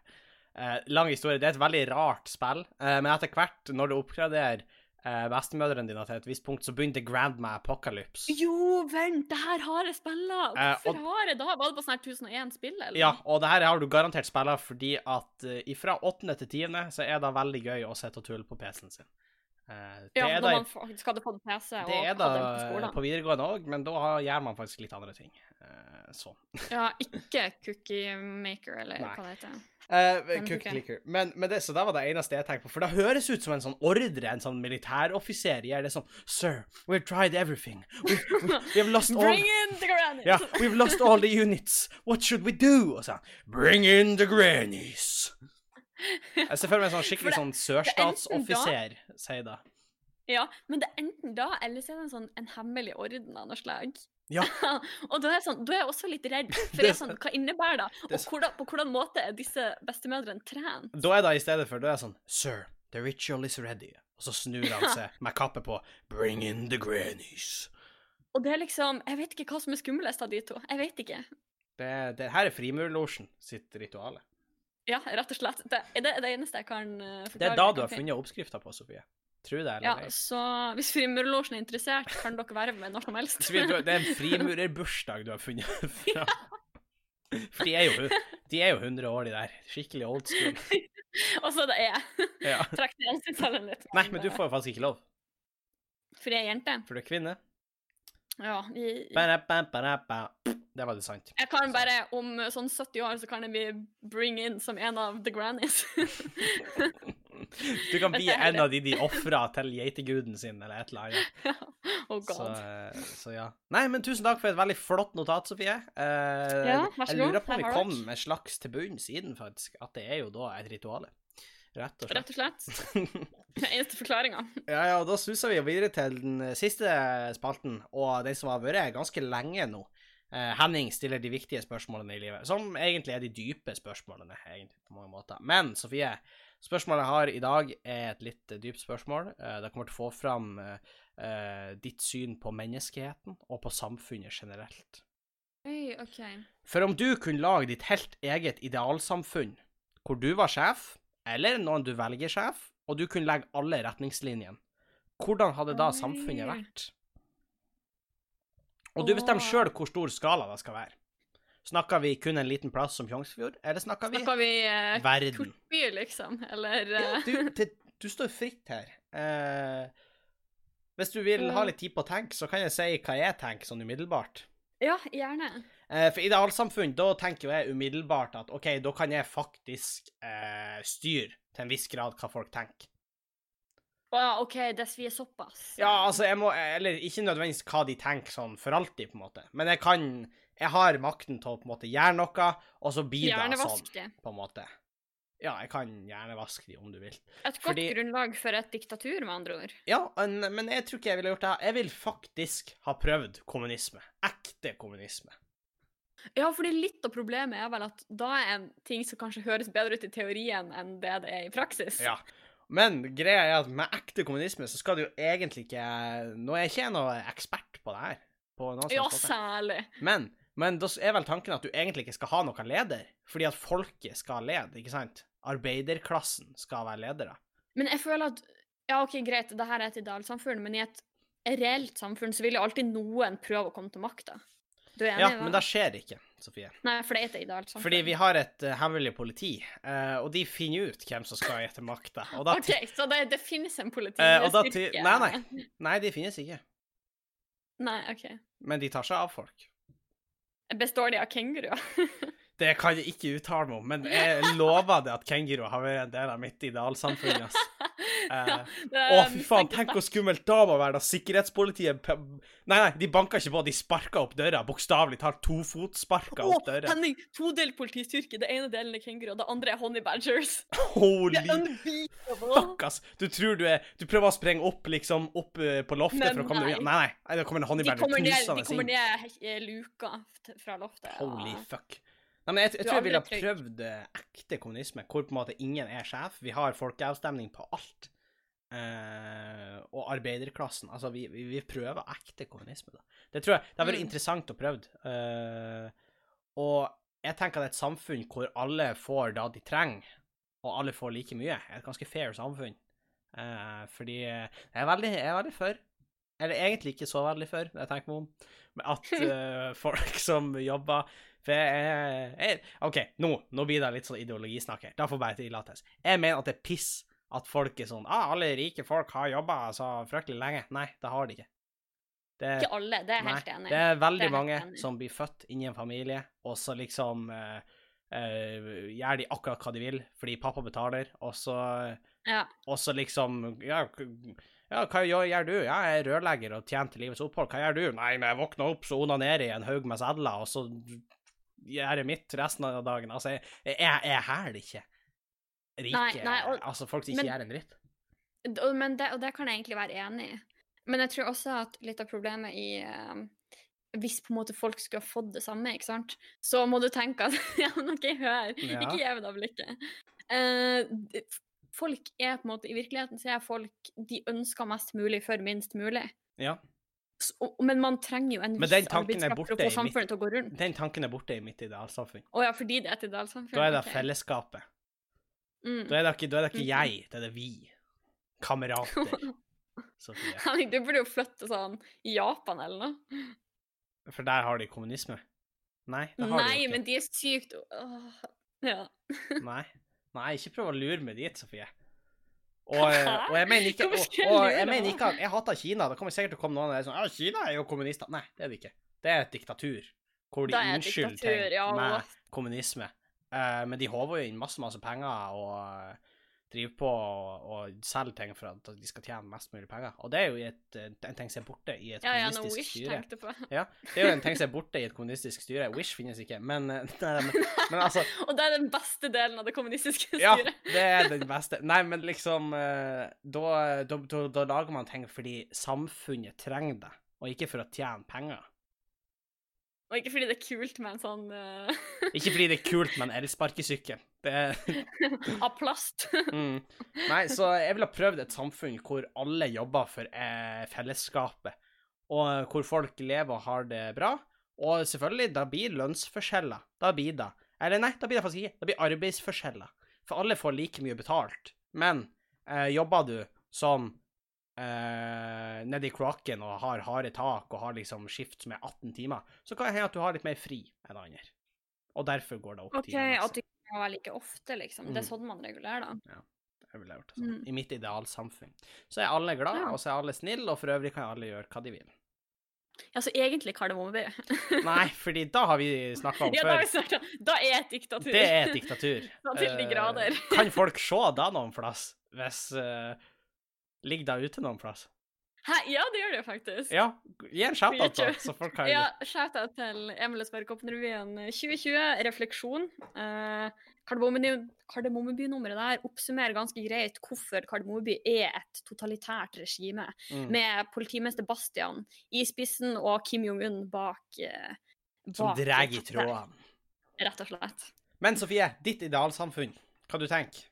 Speaker 1: Eh, lang historie. Det er et veldig rart spill, eh, men etter hvert, når du oppgraderer eh, bestemødrene dine til et visst punkt, så begynner det Grandma Apocalypse.
Speaker 2: Jo, vent, det her har jeg spilla!
Speaker 1: Eh,
Speaker 2: Hvorfor
Speaker 1: og-
Speaker 2: har jeg da? Var det på sånn her 1001 spill, eller?
Speaker 1: Ja, og det her har du garantert spillet fordi at eh, ifra åttende til tiende så er det veldig gøy å sitte og tulle på PC-en sin. Eh, det,
Speaker 2: Ja,
Speaker 1: er
Speaker 2: når
Speaker 1: da,
Speaker 2: man faktisk hadde fått PC og
Speaker 1: det er
Speaker 2: hadde
Speaker 1: da
Speaker 2: den på
Speaker 1: på,
Speaker 2: skolen.
Speaker 1: videregående òg, men da har- gjør man faktisk litt andre ting. Eh, sånn.
Speaker 2: Ja, ikke Cookie Maker, eller
Speaker 1: Nei.
Speaker 2: hva det heter.
Speaker 1: Eh,
Speaker 2: Den
Speaker 1: cook
Speaker 2: tok jeg.
Speaker 1: clicker. Men, men det, så det var det eneste jeg tenkte på, for det høres ut som en sånn ordre en sånn militæroffiser gjør. Det er sånn Sir, we've tried everything. We've, we've, we've lost all
Speaker 2: Bring in the grannies!
Speaker 1: yeah, we've lost all the units. What should we do? Og så, Bring in the grannies. Jeg ser for meg en sånn skikkelig
Speaker 2: For
Speaker 1: sånn
Speaker 2: er enten da-
Speaker 1: sørstatsoffiser, sier det.
Speaker 2: Ja, men det er enten da, eller så er det en sånn en hemmelig orden av noe slag.
Speaker 1: Ja.
Speaker 2: og da er, jeg sånn, da er jeg også litt redd, for
Speaker 1: Det er
Speaker 2: jeg er sånn, hva innebærer det?
Speaker 1: Det er
Speaker 2: Og hvordan, på hvordan måte er disse bestemødrene trent?
Speaker 1: Da er det i stedet for, da er jeg sånn Sir, the ritual is ready. Og så snur han seg med kappe på. Bring in the grannies.
Speaker 2: Og det er liksom Jeg vet ikke hva som er skumlest av de to. Jeg vet ikke.
Speaker 1: Det, det her er frimurlosjen sitt rituale.
Speaker 2: Ja, rett og slett. Det er det, det eneste jeg kan eh, forklare.
Speaker 1: Det er da du
Speaker 2: jeg
Speaker 1: har
Speaker 2: kan finne.
Speaker 1: funnet oppskrifta på, Sofie. Tror det
Speaker 2: Ja,
Speaker 1: eller ei.
Speaker 2: så hvis Frimurlosjen er interessert, kan dere være med når som helst.
Speaker 1: Så vi- du- Det er en frimurerbursdag du har funnet fram. For de er, jo, de er jo 100 år, de der. Skikkelig old school.
Speaker 2: og så det er jeg.
Speaker 1: Ja.
Speaker 2: Trekk ned ansiktshallen litt.
Speaker 1: Nei, men du får jo faktisk ikke lov,
Speaker 2: For jeg er jente.
Speaker 1: for du er kvinne.
Speaker 2: Ja. Jeg,
Speaker 1: Ba-da, ba, ba-da, ba. Der var det sant.
Speaker 2: jeg kan bare om eh, sånn 70 år så kan jeg bli bring in som en av the grannies.
Speaker 1: Du kan
Speaker 2: Men
Speaker 1: bli
Speaker 2: det er
Speaker 1: en av de de ofra til geiteguden sin, eller et eller annet.
Speaker 2: oh god.
Speaker 1: Så, eh, så ja. Nei, men tusen takk for et veldig flott notat, Sofie. Eh,
Speaker 2: Ja, vær så
Speaker 1: jeg
Speaker 2: god.
Speaker 1: lurer på om
Speaker 2: Der
Speaker 1: vi
Speaker 2: har
Speaker 1: kom
Speaker 2: dere.
Speaker 1: med slags til bunns i den, faktisk. At det er jo da et rituale. Rett og slett.
Speaker 2: Rett og slett. Den eneste forklaringa.
Speaker 1: ja, ja, og da suser vi videre til den eh, siste spalten, og den som har vært ganske lenge nå. Eh, Henning stiller de viktige spørsmålene i livet, som egentlig er de dype spørsmålene, egentlig, på mange måter. Men Sofie, spørsmålet jeg har i dag, er et litt eh, dypt spørsmål. Eh, det kommer til å få fram eh, eh, ditt syn på menneskeheten og på samfunnet generelt.
Speaker 2: Oi, OK.
Speaker 1: For om du kunne lage ditt helt eget idealsamfunn, hvor du var sjef, eller noen du velger sjef, og du kunne legge alle retningslinjene, hvordan hadde da
Speaker 2: Oi.
Speaker 1: samfunnet vært? Og du bestemmer
Speaker 2: Åh.
Speaker 1: sjøl hvor stor skala det skal være. Snakker vi kun en liten plass som Tjongsfjord, eller snakker vi
Speaker 2: Snakker vi eh,
Speaker 1: verden?
Speaker 2: kortby, liksom? Eller
Speaker 1: Ja,
Speaker 2: eh,
Speaker 1: du, det, du står fritt her. Eh, hvis du vil ha
Speaker 2: Mm.
Speaker 1: litt tid på å tenke, så kan jeg si hva jeg tenker sånn umiddelbart.
Speaker 2: Ja, gjerne.
Speaker 1: Eh, For idealsamfunn, da tenker jo jeg umiddelbart at OK, da kan jeg faktisk eh, styre til en viss grad hva folk tenker.
Speaker 2: Å ja, OK, det svir såpass.
Speaker 1: Ja, altså, jeg må Eller ikke nødvendigvis hva de tenker sånn for alltid, på en måte, men jeg kan Jeg har makten til å på en måte gjøre noe, og så blir det
Speaker 2: Hjernevask
Speaker 1: sånn,
Speaker 2: det.
Speaker 1: på en måte. Ja, jeg kan hjernevaske de om du vil.
Speaker 2: Et godt
Speaker 1: Fordi-
Speaker 2: grunnlag for et diktatur, med andre ord.
Speaker 1: Ja, en, men jeg tror ikke jeg ville gjort det her. Jeg vil faktisk ha prøvd kommunisme. Ekte kommunisme.
Speaker 2: Ja, fordi litt av problemet er vel at da er ting som kanskje høres bedre ut i teorien enn det det er i praksis.
Speaker 1: Ja. Men greia er at med ekte kommunisme så skal det jo egentlig ikke Nå er jeg ikke noen ekspert på det her. På noen som
Speaker 2: Ja,
Speaker 1: helst måte.
Speaker 2: særlig.
Speaker 1: men, men da er vel tanken at du egentlig ikke skal ha noen leder, fordi at folket skal lede, ikke sant? Arbeiderklassen skal være ledere.
Speaker 2: Men jeg føler at Ja, OK, greit, det her er et idealsamfunn, men i et reelt samfunn så vil jo alltid noen prøve å komme til makta. Du er enig
Speaker 1: Ja,
Speaker 2: i
Speaker 1: men det skjer ikke, Sofie.
Speaker 2: Nei, for det er et idealt samfunn.
Speaker 1: Fordi vi har et eh, hemmelig politi, eh, og de finner ut hvem som skal etter makta. Og da
Speaker 2: OK, så det, det finnes en
Speaker 1: Eh, og da
Speaker 2: politistyrke?
Speaker 1: til- Nei, nei. Nei, de finnes ikke.
Speaker 2: Nei, OK.
Speaker 1: Men de tar seg av folk.
Speaker 2: Består de av kenguruer?
Speaker 1: Det kan jeg ikke uttale meg om, men jeg lover det at kenguruer har vært en del av mitt idealsamfunn. ass. Eh, å, fy faen, tenk hvor skummelt da må være da sikkerhetspolitiet pe- Nei, nei, de banka ikke på, de sparka opp døra. Bokstavelig talt tofotsparka
Speaker 2: Å,
Speaker 1: opp døra.
Speaker 2: Henning! Todelt politistyrke. Det ene delen er kenguru, og det andre er honey badgers.
Speaker 1: Holy
Speaker 2: Det er unbeatable!
Speaker 1: fuck, ass. Du tror du er Du prøver å sprenge opp, liksom, opp eh, på loftet
Speaker 2: Men
Speaker 1: for å komme deg
Speaker 2: nei.
Speaker 1: unna. Nei, nei, nei, det kommer en
Speaker 2: De
Speaker 1: honningberg
Speaker 2: kommer ned, de
Speaker 1: tusende
Speaker 2: kommer
Speaker 1: inn.
Speaker 2: ned he- luka t- fra loftet. ja.
Speaker 1: Holy fuck. Nei, men jeg, jeg tror
Speaker 2: Du
Speaker 1: jeg
Speaker 2: aldri
Speaker 1: ville ha
Speaker 2: trygg.
Speaker 1: prøvd eh, ekte kommunisme, hvor på en måte ingen er sjef. Vi har folkeavstemning på alt. Eh, og arbeiderklassen. Altså, vi, vi, vi prøver ekte kommunisme, da. Det tror jeg det har vært
Speaker 2: Mm.
Speaker 1: interessant å prøve. og jeg tenker at et samfunn hvor alle får det de trenger, og alle får like mye, er et ganske fair samfunn. Eh, fordi jeg er veldig, jeg er veldig for. Eller egentlig ikke så veldig for, når jeg tenker meg om. Men at eh, folk som jobber For jeg, jeg, jeg OK, nå, nå blir det litt sånn ideologisnakk her. Da får bare tillates. Jeg mener at det er piss at folk er sånn ah, 'Alle rike folk har jobba så fryktelig lenge.' Nei, det har de ikke. Det,
Speaker 2: Ikke alle, det er jeg
Speaker 1: Nei,
Speaker 2: helt enig
Speaker 1: det
Speaker 2: i.
Speaker 1: er veldig
Speaker 2: Det er helt
Speaker 1: mange
Speaker 2: enig.
Speaker 1: som blir født inn i en familie, og så liksom eh, eh, gjør de akkurat hva de vil fordi pappa betaler, og så,
Speaker 2: Ja.
Speaker 1: og så liksom ja, k- ja, hva gjør, gjør du? Ja, jeg er rørlegger og tjener til livets opphold. Hva gjør du? Nei, men jeg våkner opp, så onanerer jeg en haug med sedler, og så gjør jeg mitt resten av dagen. Altså, jeg, jeg, jeg er her ikke. rike
Speaker 2: Nei, nei, og-
Speaker 1: Altså folk som ikke
Speaker 2: men-
Speaker 1: gjør en dritt.
Speaker 2: D- og- Men det, og det kan jeg egentlig være enig i. Men jeg tror også at litt av problemet i eh, Hvis på en måte folk skulle ha fått det samme, ikke sant, så må du tenke at Ja, men OK, hør.
Speaker 1: Ja.
Speaker 2: Ikke gjev deg blikket. Eh, d- f- folk er på en måte I virkeligheten så er folk De ønsker mest mulig for minst mulig.
Speaker 1: Ja.
Speaker 2: S- og- Men man trenger jo en
Speaker 1: Men
Speaker 2: viss
Speaker 1: den tanken er
Speaker 2: arbeidskraft for å
Speaker 1: borte i
Speaker 2: få
Speaker 1: mitt-
Speaker 2: samfunnet til å gå rundt.
Speaker 1: Den tanken er borte i mitt idealsamfunn.
Speaker 2: Å ja, fordi det er et idealsamfunn?
Speaker 1: Da er det
Speaker 2: ok.
Speaker 1: fellesskapet.
Speaker 2: Mm.
Speaker 1: Da er det ikke, da er det ikke
Speaker 2: Mhm.
Speaker 1: jeg, det er det vi. Kamerater. Sofie.
Speaker 2: Henrik, du burde jo flytte sånn i Japan eller noe.
Speaker 1: For der har de kommunisme. Nei, det har de
Speaker 2: Nei,
Speaker 1: jo
Speaker 2: men
Speaker 1: ikke.
Speaker 2: de er sykt Åh. Ja.
Speaker 1: Nei. Nei, ikke prøv å lure meg dit, Sofie. Og, eh, og jeg mener ikke,
Speaker 2: Hvorfor
Speaker 1: og,
Speaker 2: skal jeg
Speaker 1: og
Speaker 2: lure
Speaker 1: jeg mener
Speaker 2: deg?
Speaker 1: ikke at jeg hater Kina. Det kommer sikkert til å komme noen der sånn Ja, Kina er jo kommunister. Nei, det er det ikke. Det er et diktatur. Hvor de
Speaker 2: Da er det
Speaker 1: unnskylder
Speaker 2: diktatur,
Speaker 1: ting
Speaker 2: ja,
Speaker 1: med
Speaker 2: what?
Speaker 1: kommunisme. Eh, men de håver jo inn masse, masse penger og eh, driver på og, og selger ting for at de skal tjene mest mulig penger. Og det er jo i et, en ting som er borte i et
Speaker 2: Ja, ja, no
Speaker 1: kommunistisk
Speaker 2: wish,
Speaker 1: styre.
Speaker 2: tenkte jeg på.
Speaker 1: Det er jo en ting som er borte i et kommunistisk styre. Wish finnes ikke, men, eh, nei, men, men altså
Speaker 2: Og det er den beste delen av det kommunistiske
Speaker 1: Ja,
Speaker 2: styret.
Speaker 1: det er den beste. Nei, men liksom eh, Da, da, da, da lager man ting fordi samfunnet trenger det, og ikke for å tjene penger.
Speaker 2: Og ikke fordi det er kult med en sånn eh,
Speaker 1: Ikke fordi det er kult med en elsparkesykkel. Det er
Speaker 2: av plast.
Speaker 1: mm. Nei, så jeg ville ha prøvd et samfunn hvor alle jobber for eh, fellesskapet, og hvor folk lever og har det bra. Og selvfølgelig, da blir lønnsforskjeller. Da blir det Eller nei, da blir det faktisk ikke. Da blir arbeidsforskjeller. For alle får like mye betalt. Men eh, jobber du som eh, nedi kloakken og har harde tak og har liksom skift som er 18 timer, så kan det hende at du har litt mer fri enn andre. Og derfor går det opp
Speaker 2: OK,
Speaker 1: timer.
Speaker 2: at du ikke kan være like ofte, liksom. Det er
Speaker 1: Mm.
Speaker 2: sånn man regulerer, da.
Speaker 1: Jeg ville gjort det sånn.
Speaker 2: Mm.
Speaker 1: I mitt idealsamfunn. Så er alle glad,
Speaker 2: Ja.
Speaker 1: og så er alle snille, og for øvrig kan alle gjøre hva de vil.
Speaker 2: Ja, så egentlig Kardemommeby.
Speaker 1: Nei, fordi da har vi snakka om
Speaker 2: Ja, da,
Speaker 1: før.
Speaker 2: har vi snakket om- da er et diktatur.
Speaker 1: Det er et diktatur.
Speaker 2: Ja, til de
Speaker 1: Eh,
Speaker 2: grader.
Speaker 1: kan folk se da noen plass, hvis eh, Ligger da ute noen plass?
Speaker 2: Hæ? Ja, det gjør det jo faktisk.
Speaker 1: Ja, gi en shout-out, da,
Speaker 2: YouTube.
Speaker 1: så folk kan
Speaker 2: Ja, shout-out til Emil Østberg-Koppen-revyen 2020, Refleksjon. Eh, Kardemommeby- Kardemommeby-nummeret der oppsummerer ganske greit hvorfor Kardemommeby er et totalitært regime,
Speaker 1: Mm.
Speaker 2: med politimester Bastian i spissen og Kim Jong-un bak, eh,
Speaker 1: Som
Speaker 2: bak
Speaker 1: drar i
Speaker 2: rattet,
Speaker 1: trådene.
Speaker 2: Rett og slett.
Speaker 1: Men Sofie, ditt idealsamfunn, hva du tenker?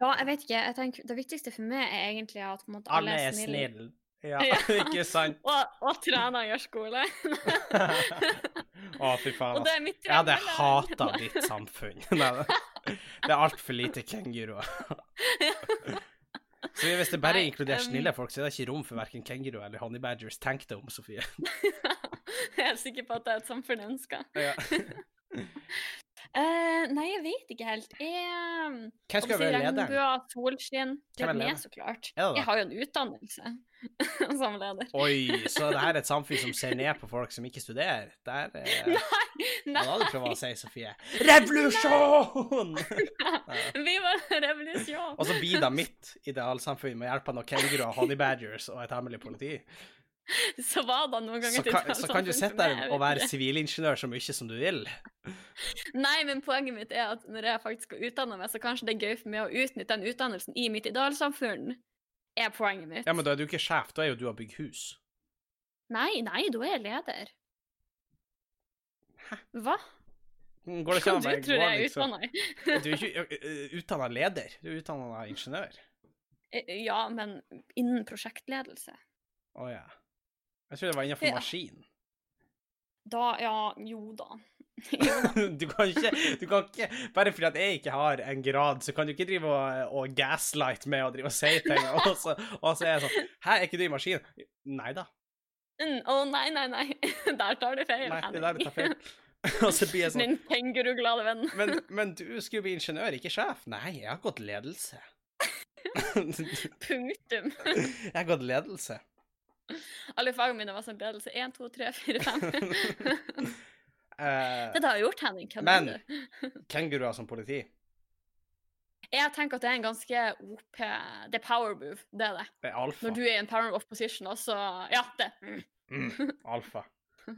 Speaker 2: Ja, jeg vet ikke. jeg tenker Det viktigste for meg er egentlig at på en måte,
Speaker 1: Alle er snille. Ja,
Speaker 2: Ja.
Speaker 1: ikke sant?
Speaker 2: Og, og trener gjør skole.
Speaker 1: Å, fy faen. altså.
Speaker 2: og det er mitt
Speaker 1: Jeg hadde
Speaker 2: drømmeland.
Speaker 1: hata ditt samfunn. Nei, det- det er altfor lite kenguruer. Så hvis det bare
Speaker 2: Nei,
Speaker 1: inkluderer
Speaker 2: um,
Speaker 1: snille folk, så er det ikke rom for verken kenguru eller honey badgers. Tenk deg om, Sofie.
Speaker 2: Jeg er helt sikker på at det er et samfunn jeg ønsker.
Speaker 1: Ja.
Speaker 2: Eh, nei, jeg vet ikke helt. Jeg
Speaker 1: Hvem skal være lederen?
Speaker 2: Regnbuer, solskinn
Speaker 1: Hvem
Speaker 2: Det
Speaker 1: er
Speaker 2: er meg,
Speaker 1: lederen?
Speaker 2: så klart.
Speaker 1: Er det det?
Speaker 2: Jeg har jo en utdannelse som leder.
Speaker 1: Oi, så det her er et samfunn som ser ned på folk som ikke studerer? Der eh, Hva
Speaker 2: Nei,
Speaker 1: hadde du prøvd å si, Sofie? Revolusjon!
Speaker 2: vi var en revolusjon!
Speaker 1: Og så blir det mitt idealsamfunn med hjelp av noen kenguruer, honey badgers og et hemmelig politi.
Speaker 2: Så var det noen ganger
Speaker 1: Så
Speaker 2: et
Speaker 1: kan,
Speaker 2: utdannelse
Speaker 1: så kan du
Speaker 2: som
Speaker 1: sitte
Speaker 2: for meg,
Speaker 1: der
Speaker 2: jeg
Speaker 1: og
Speaker 2: vet
Speaker 1: være
Speaker 2: ikke.
Speaker 1: sivilingeniør så mye som du vil.
Speaker 2: Nei, men poenget mitt er at når jeg faktisk skal utdanne meg, så kanskje det er gøy for meg å utnytte den utdannelsen i mitt idealsamfunn, er poenget mitt.
Speaker 1: Ja, men da er du ikke sjef, da er jo du og bygger hus.
Speaker 2: Nei, nei, da er jeg leder. Hva?
Speaker 1: Mm, Går det ikke an å
Speaker 2: du
Speaker 1: bare
Speaker 2: tror
Speaker 1: gå,
Speaker 2: jeg er
Speaker 1: liksom?
Speaker 2: utdanna?
Speaker 1: Du er ikke utdanna leder, du er utdanna ingeniør.
Speaker 2: Ja, men innen prosjektledelse.
Speaker 1: Å ja. Jeg tror det var innenfor
Speaker 2: Ja.
Speaker 1: maskin.
Speaker 2: Da, ja, jo da. Jo da.
Speaker 1: Du kan ikke, du kan ikke Bare fordi at jeg ikke har en grad, så kan du ikke drive og, og gaslight med å drive og si ting, og så, og så er jeg sånn Hæ, er ikke du i maskin? Nei da.
Speaker 2: Mm, Å nei, nei, nei. Der tar du feil.
Speaker 1: Nei, det
Speaker 2: Henning.
Speaker 1: der tar feil. Og så blir jeg sånn
Speaker 2: Min kenguruglade venn.
Speaker 1: men, men du skulle bli ingeniør, ikke sjef. Nei, jeg har gått ledelse. jeg
Speaker 2: Punktum.
Speaker 1: har gått ledelse.
Speaker 2: Alle fagene mine var sånn som ledelse. 1, 2, 3, 4, 5.
Speaker 1: Eh,
Speaker 2: Det er det jeg har gjort, Henning. Kødder
Speaker 1: Men-
Speaker 2: du?
Speaker 1: kenguruer som politi.
Speaker 2: Jeg tenker at det er en ganske OP Det er power move, det er det.
Speaker 1: Det er alfa.
Speaker 2: Når du er i en power of position, og så Ja, det. Mm.
Speaker 1: Mm, alfa.
Speaker 2: Ja.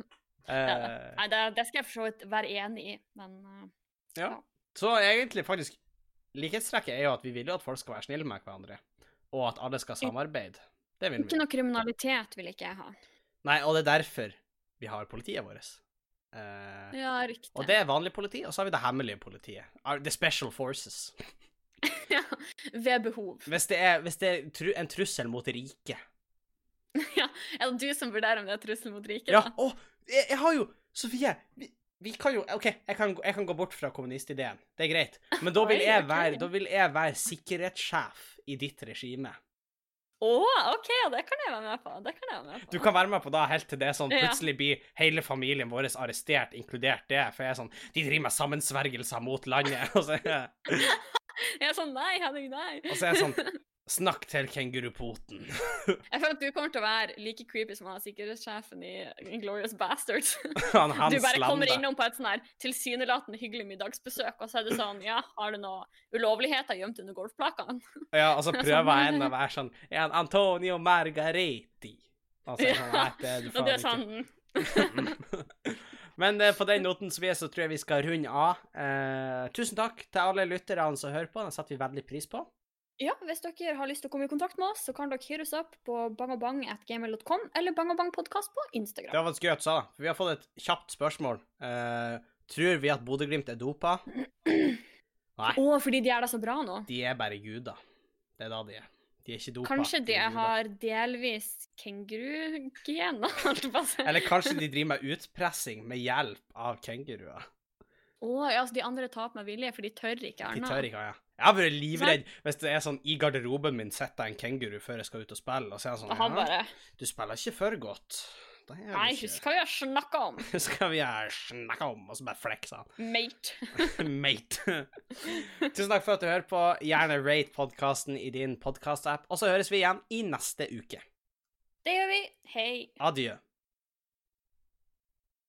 Speaker 1: Eh,
Speaker 2: Nei, det, det skal jeg for så vidt være enig i, men eh,
Speaker 1: så egentlig faktisk Likhetstrekket er jo at vi vil jo at folk skal være snille med hverandre, og at alle skal samarbeide. Det vil
Speaker 2: Ikke
Speaker 1: vi.
Speaker 2: noe kriminalitet vil ikke jeg ha.
Speaker 1: Nei, og det er derfor vi har politiet vårt. Eh,
Speaker 2: Ja, riktig.
Speaker 1: og det er vanlig politi, og så har vi det hemmelige politiet. Ah, The Special Forces.
Speaker 2: Ja, ved behov.
Speaker 1: Hvis det er, hvis det er tru, en trussel mot riket
Speaker 2: Er det du som vurderer om det er trussel mot riket?
Speaker 1: Ja,
Speaker 2: da?
Speaker 1: å, jeg, jeg har jo Sofie, vi, vi kan jo OK, jeg kan, gå- jeg kan gå bort fra kommunistideen. Det er greit. Men da vil
Speaker 2: Oi,
Speaker 1: jeg
Speaker 2: ok.
Speaker 1: være, da vil jeg være sikkerhetssjef i ditt regime.
Speaker 2: Å, OK, ja, det kan jeg være med på. Det kan jeg være med på.
Speaker 1: Du kan være med på da helt til det er sånn
Speaker 2: Ja.
Speaker 1: plutselig blir hele familien vår arrestert, inkludert det, for jeg er sånn De driver med sammensvergelser mot landet. Og så, er jeg-
Speaker 2: Jeg er sånn nei, Henning, nei.
Speaker 1: og så er jeg sånn Snakk til kengurupoten.
Speaker 2: Jeg føler at du kommer til å være like creepy som han sikkerhetssjefen i Glorious Bastards.
Speaker 1: Han
Speaker 2: Du
Speaker 1: Hans
Speaker 2: bare kommer
Speaker 1: Lande.
Speaker 2: innom på et sånn her tilsynelatende hyggelig middagsbesøk, og så er det sånn Ja, har du noe ulovligheter gjemt under golfplakene?
Speaker 1: Ja, og så
Speaker 2: Sånn.
Speaker 1: prøver jeg en å være sånn Er han Antonio Margareti? Og så er jeg sånn,
Speaker 2: Ja,
Speaker 1: nei, det er du
Speaker 2: Og du
Speaker 1: faen
Speaker 2: er
Speaker 1: ikke.
Speaker 2: sånn
Speaker 1: Men eh, på den noten som vi er, så tror jeg vi skal runde av. Eh, tusen takk til alle lytterne som hører på. Det setter vi veldig pris på.
Speaker 2: Ja, hvis dere har lyst til å komme i kontakt med oss, så kan dere hyre oss opp på bangabang.gmail.com eller bangabangpodkast på
Speaker 1: Det
Speaker 2: Instagram.
Speaker 1: var faktisk gøy at du sa det. for Vi har fått et kjapt spørsmål. Eh, tror vi at Bodø-Glimt er dopa?
Speaker 2: Å, fordi de er da så bra nå.
Speaker 1: De er bare guder. Det er da de er. De er ikke dopa.
Speaker 2: Kanskje de
Speaker 1: er guder.
Speaker 2: har delvis kengurugener? holdt jeg på å si.
Speaker 1: Eller kanskje de driver med utpressing med hjelp av kenguruer.
Speaker 2: Å, ja, altså de andre taper med vilje, for de tør ikke
Speaker 1: De
Speaker 2: annet.
Speaker 1: tør ikke, ja. Jeg har vært livredd hvis det er sånn i garderoben min sitter en kenguru før jeg skal ut og spille, og så er han
Speaker 2: Og han
Speaker 1: sånn ja,
Speaker 2: bare
Speaker 1: Du spiller ikke for godt. Det gjør du
Speaker 2: Nei,
Speaker 1: ikke.
Speaker 2: husk hva vi har snakka om,
Speaker 1: skal vi her snakke om, og så bare fleksa han.
Speaker 2: mate.
Speaker 1: Mate. Tusen takk for at du hører på. Gjerne rate podkasten i din podkastapp, og så høres vi igjen i neste uke.
Speaker 2: Det gjør vi. Hei.
Speaker 1: Adjø.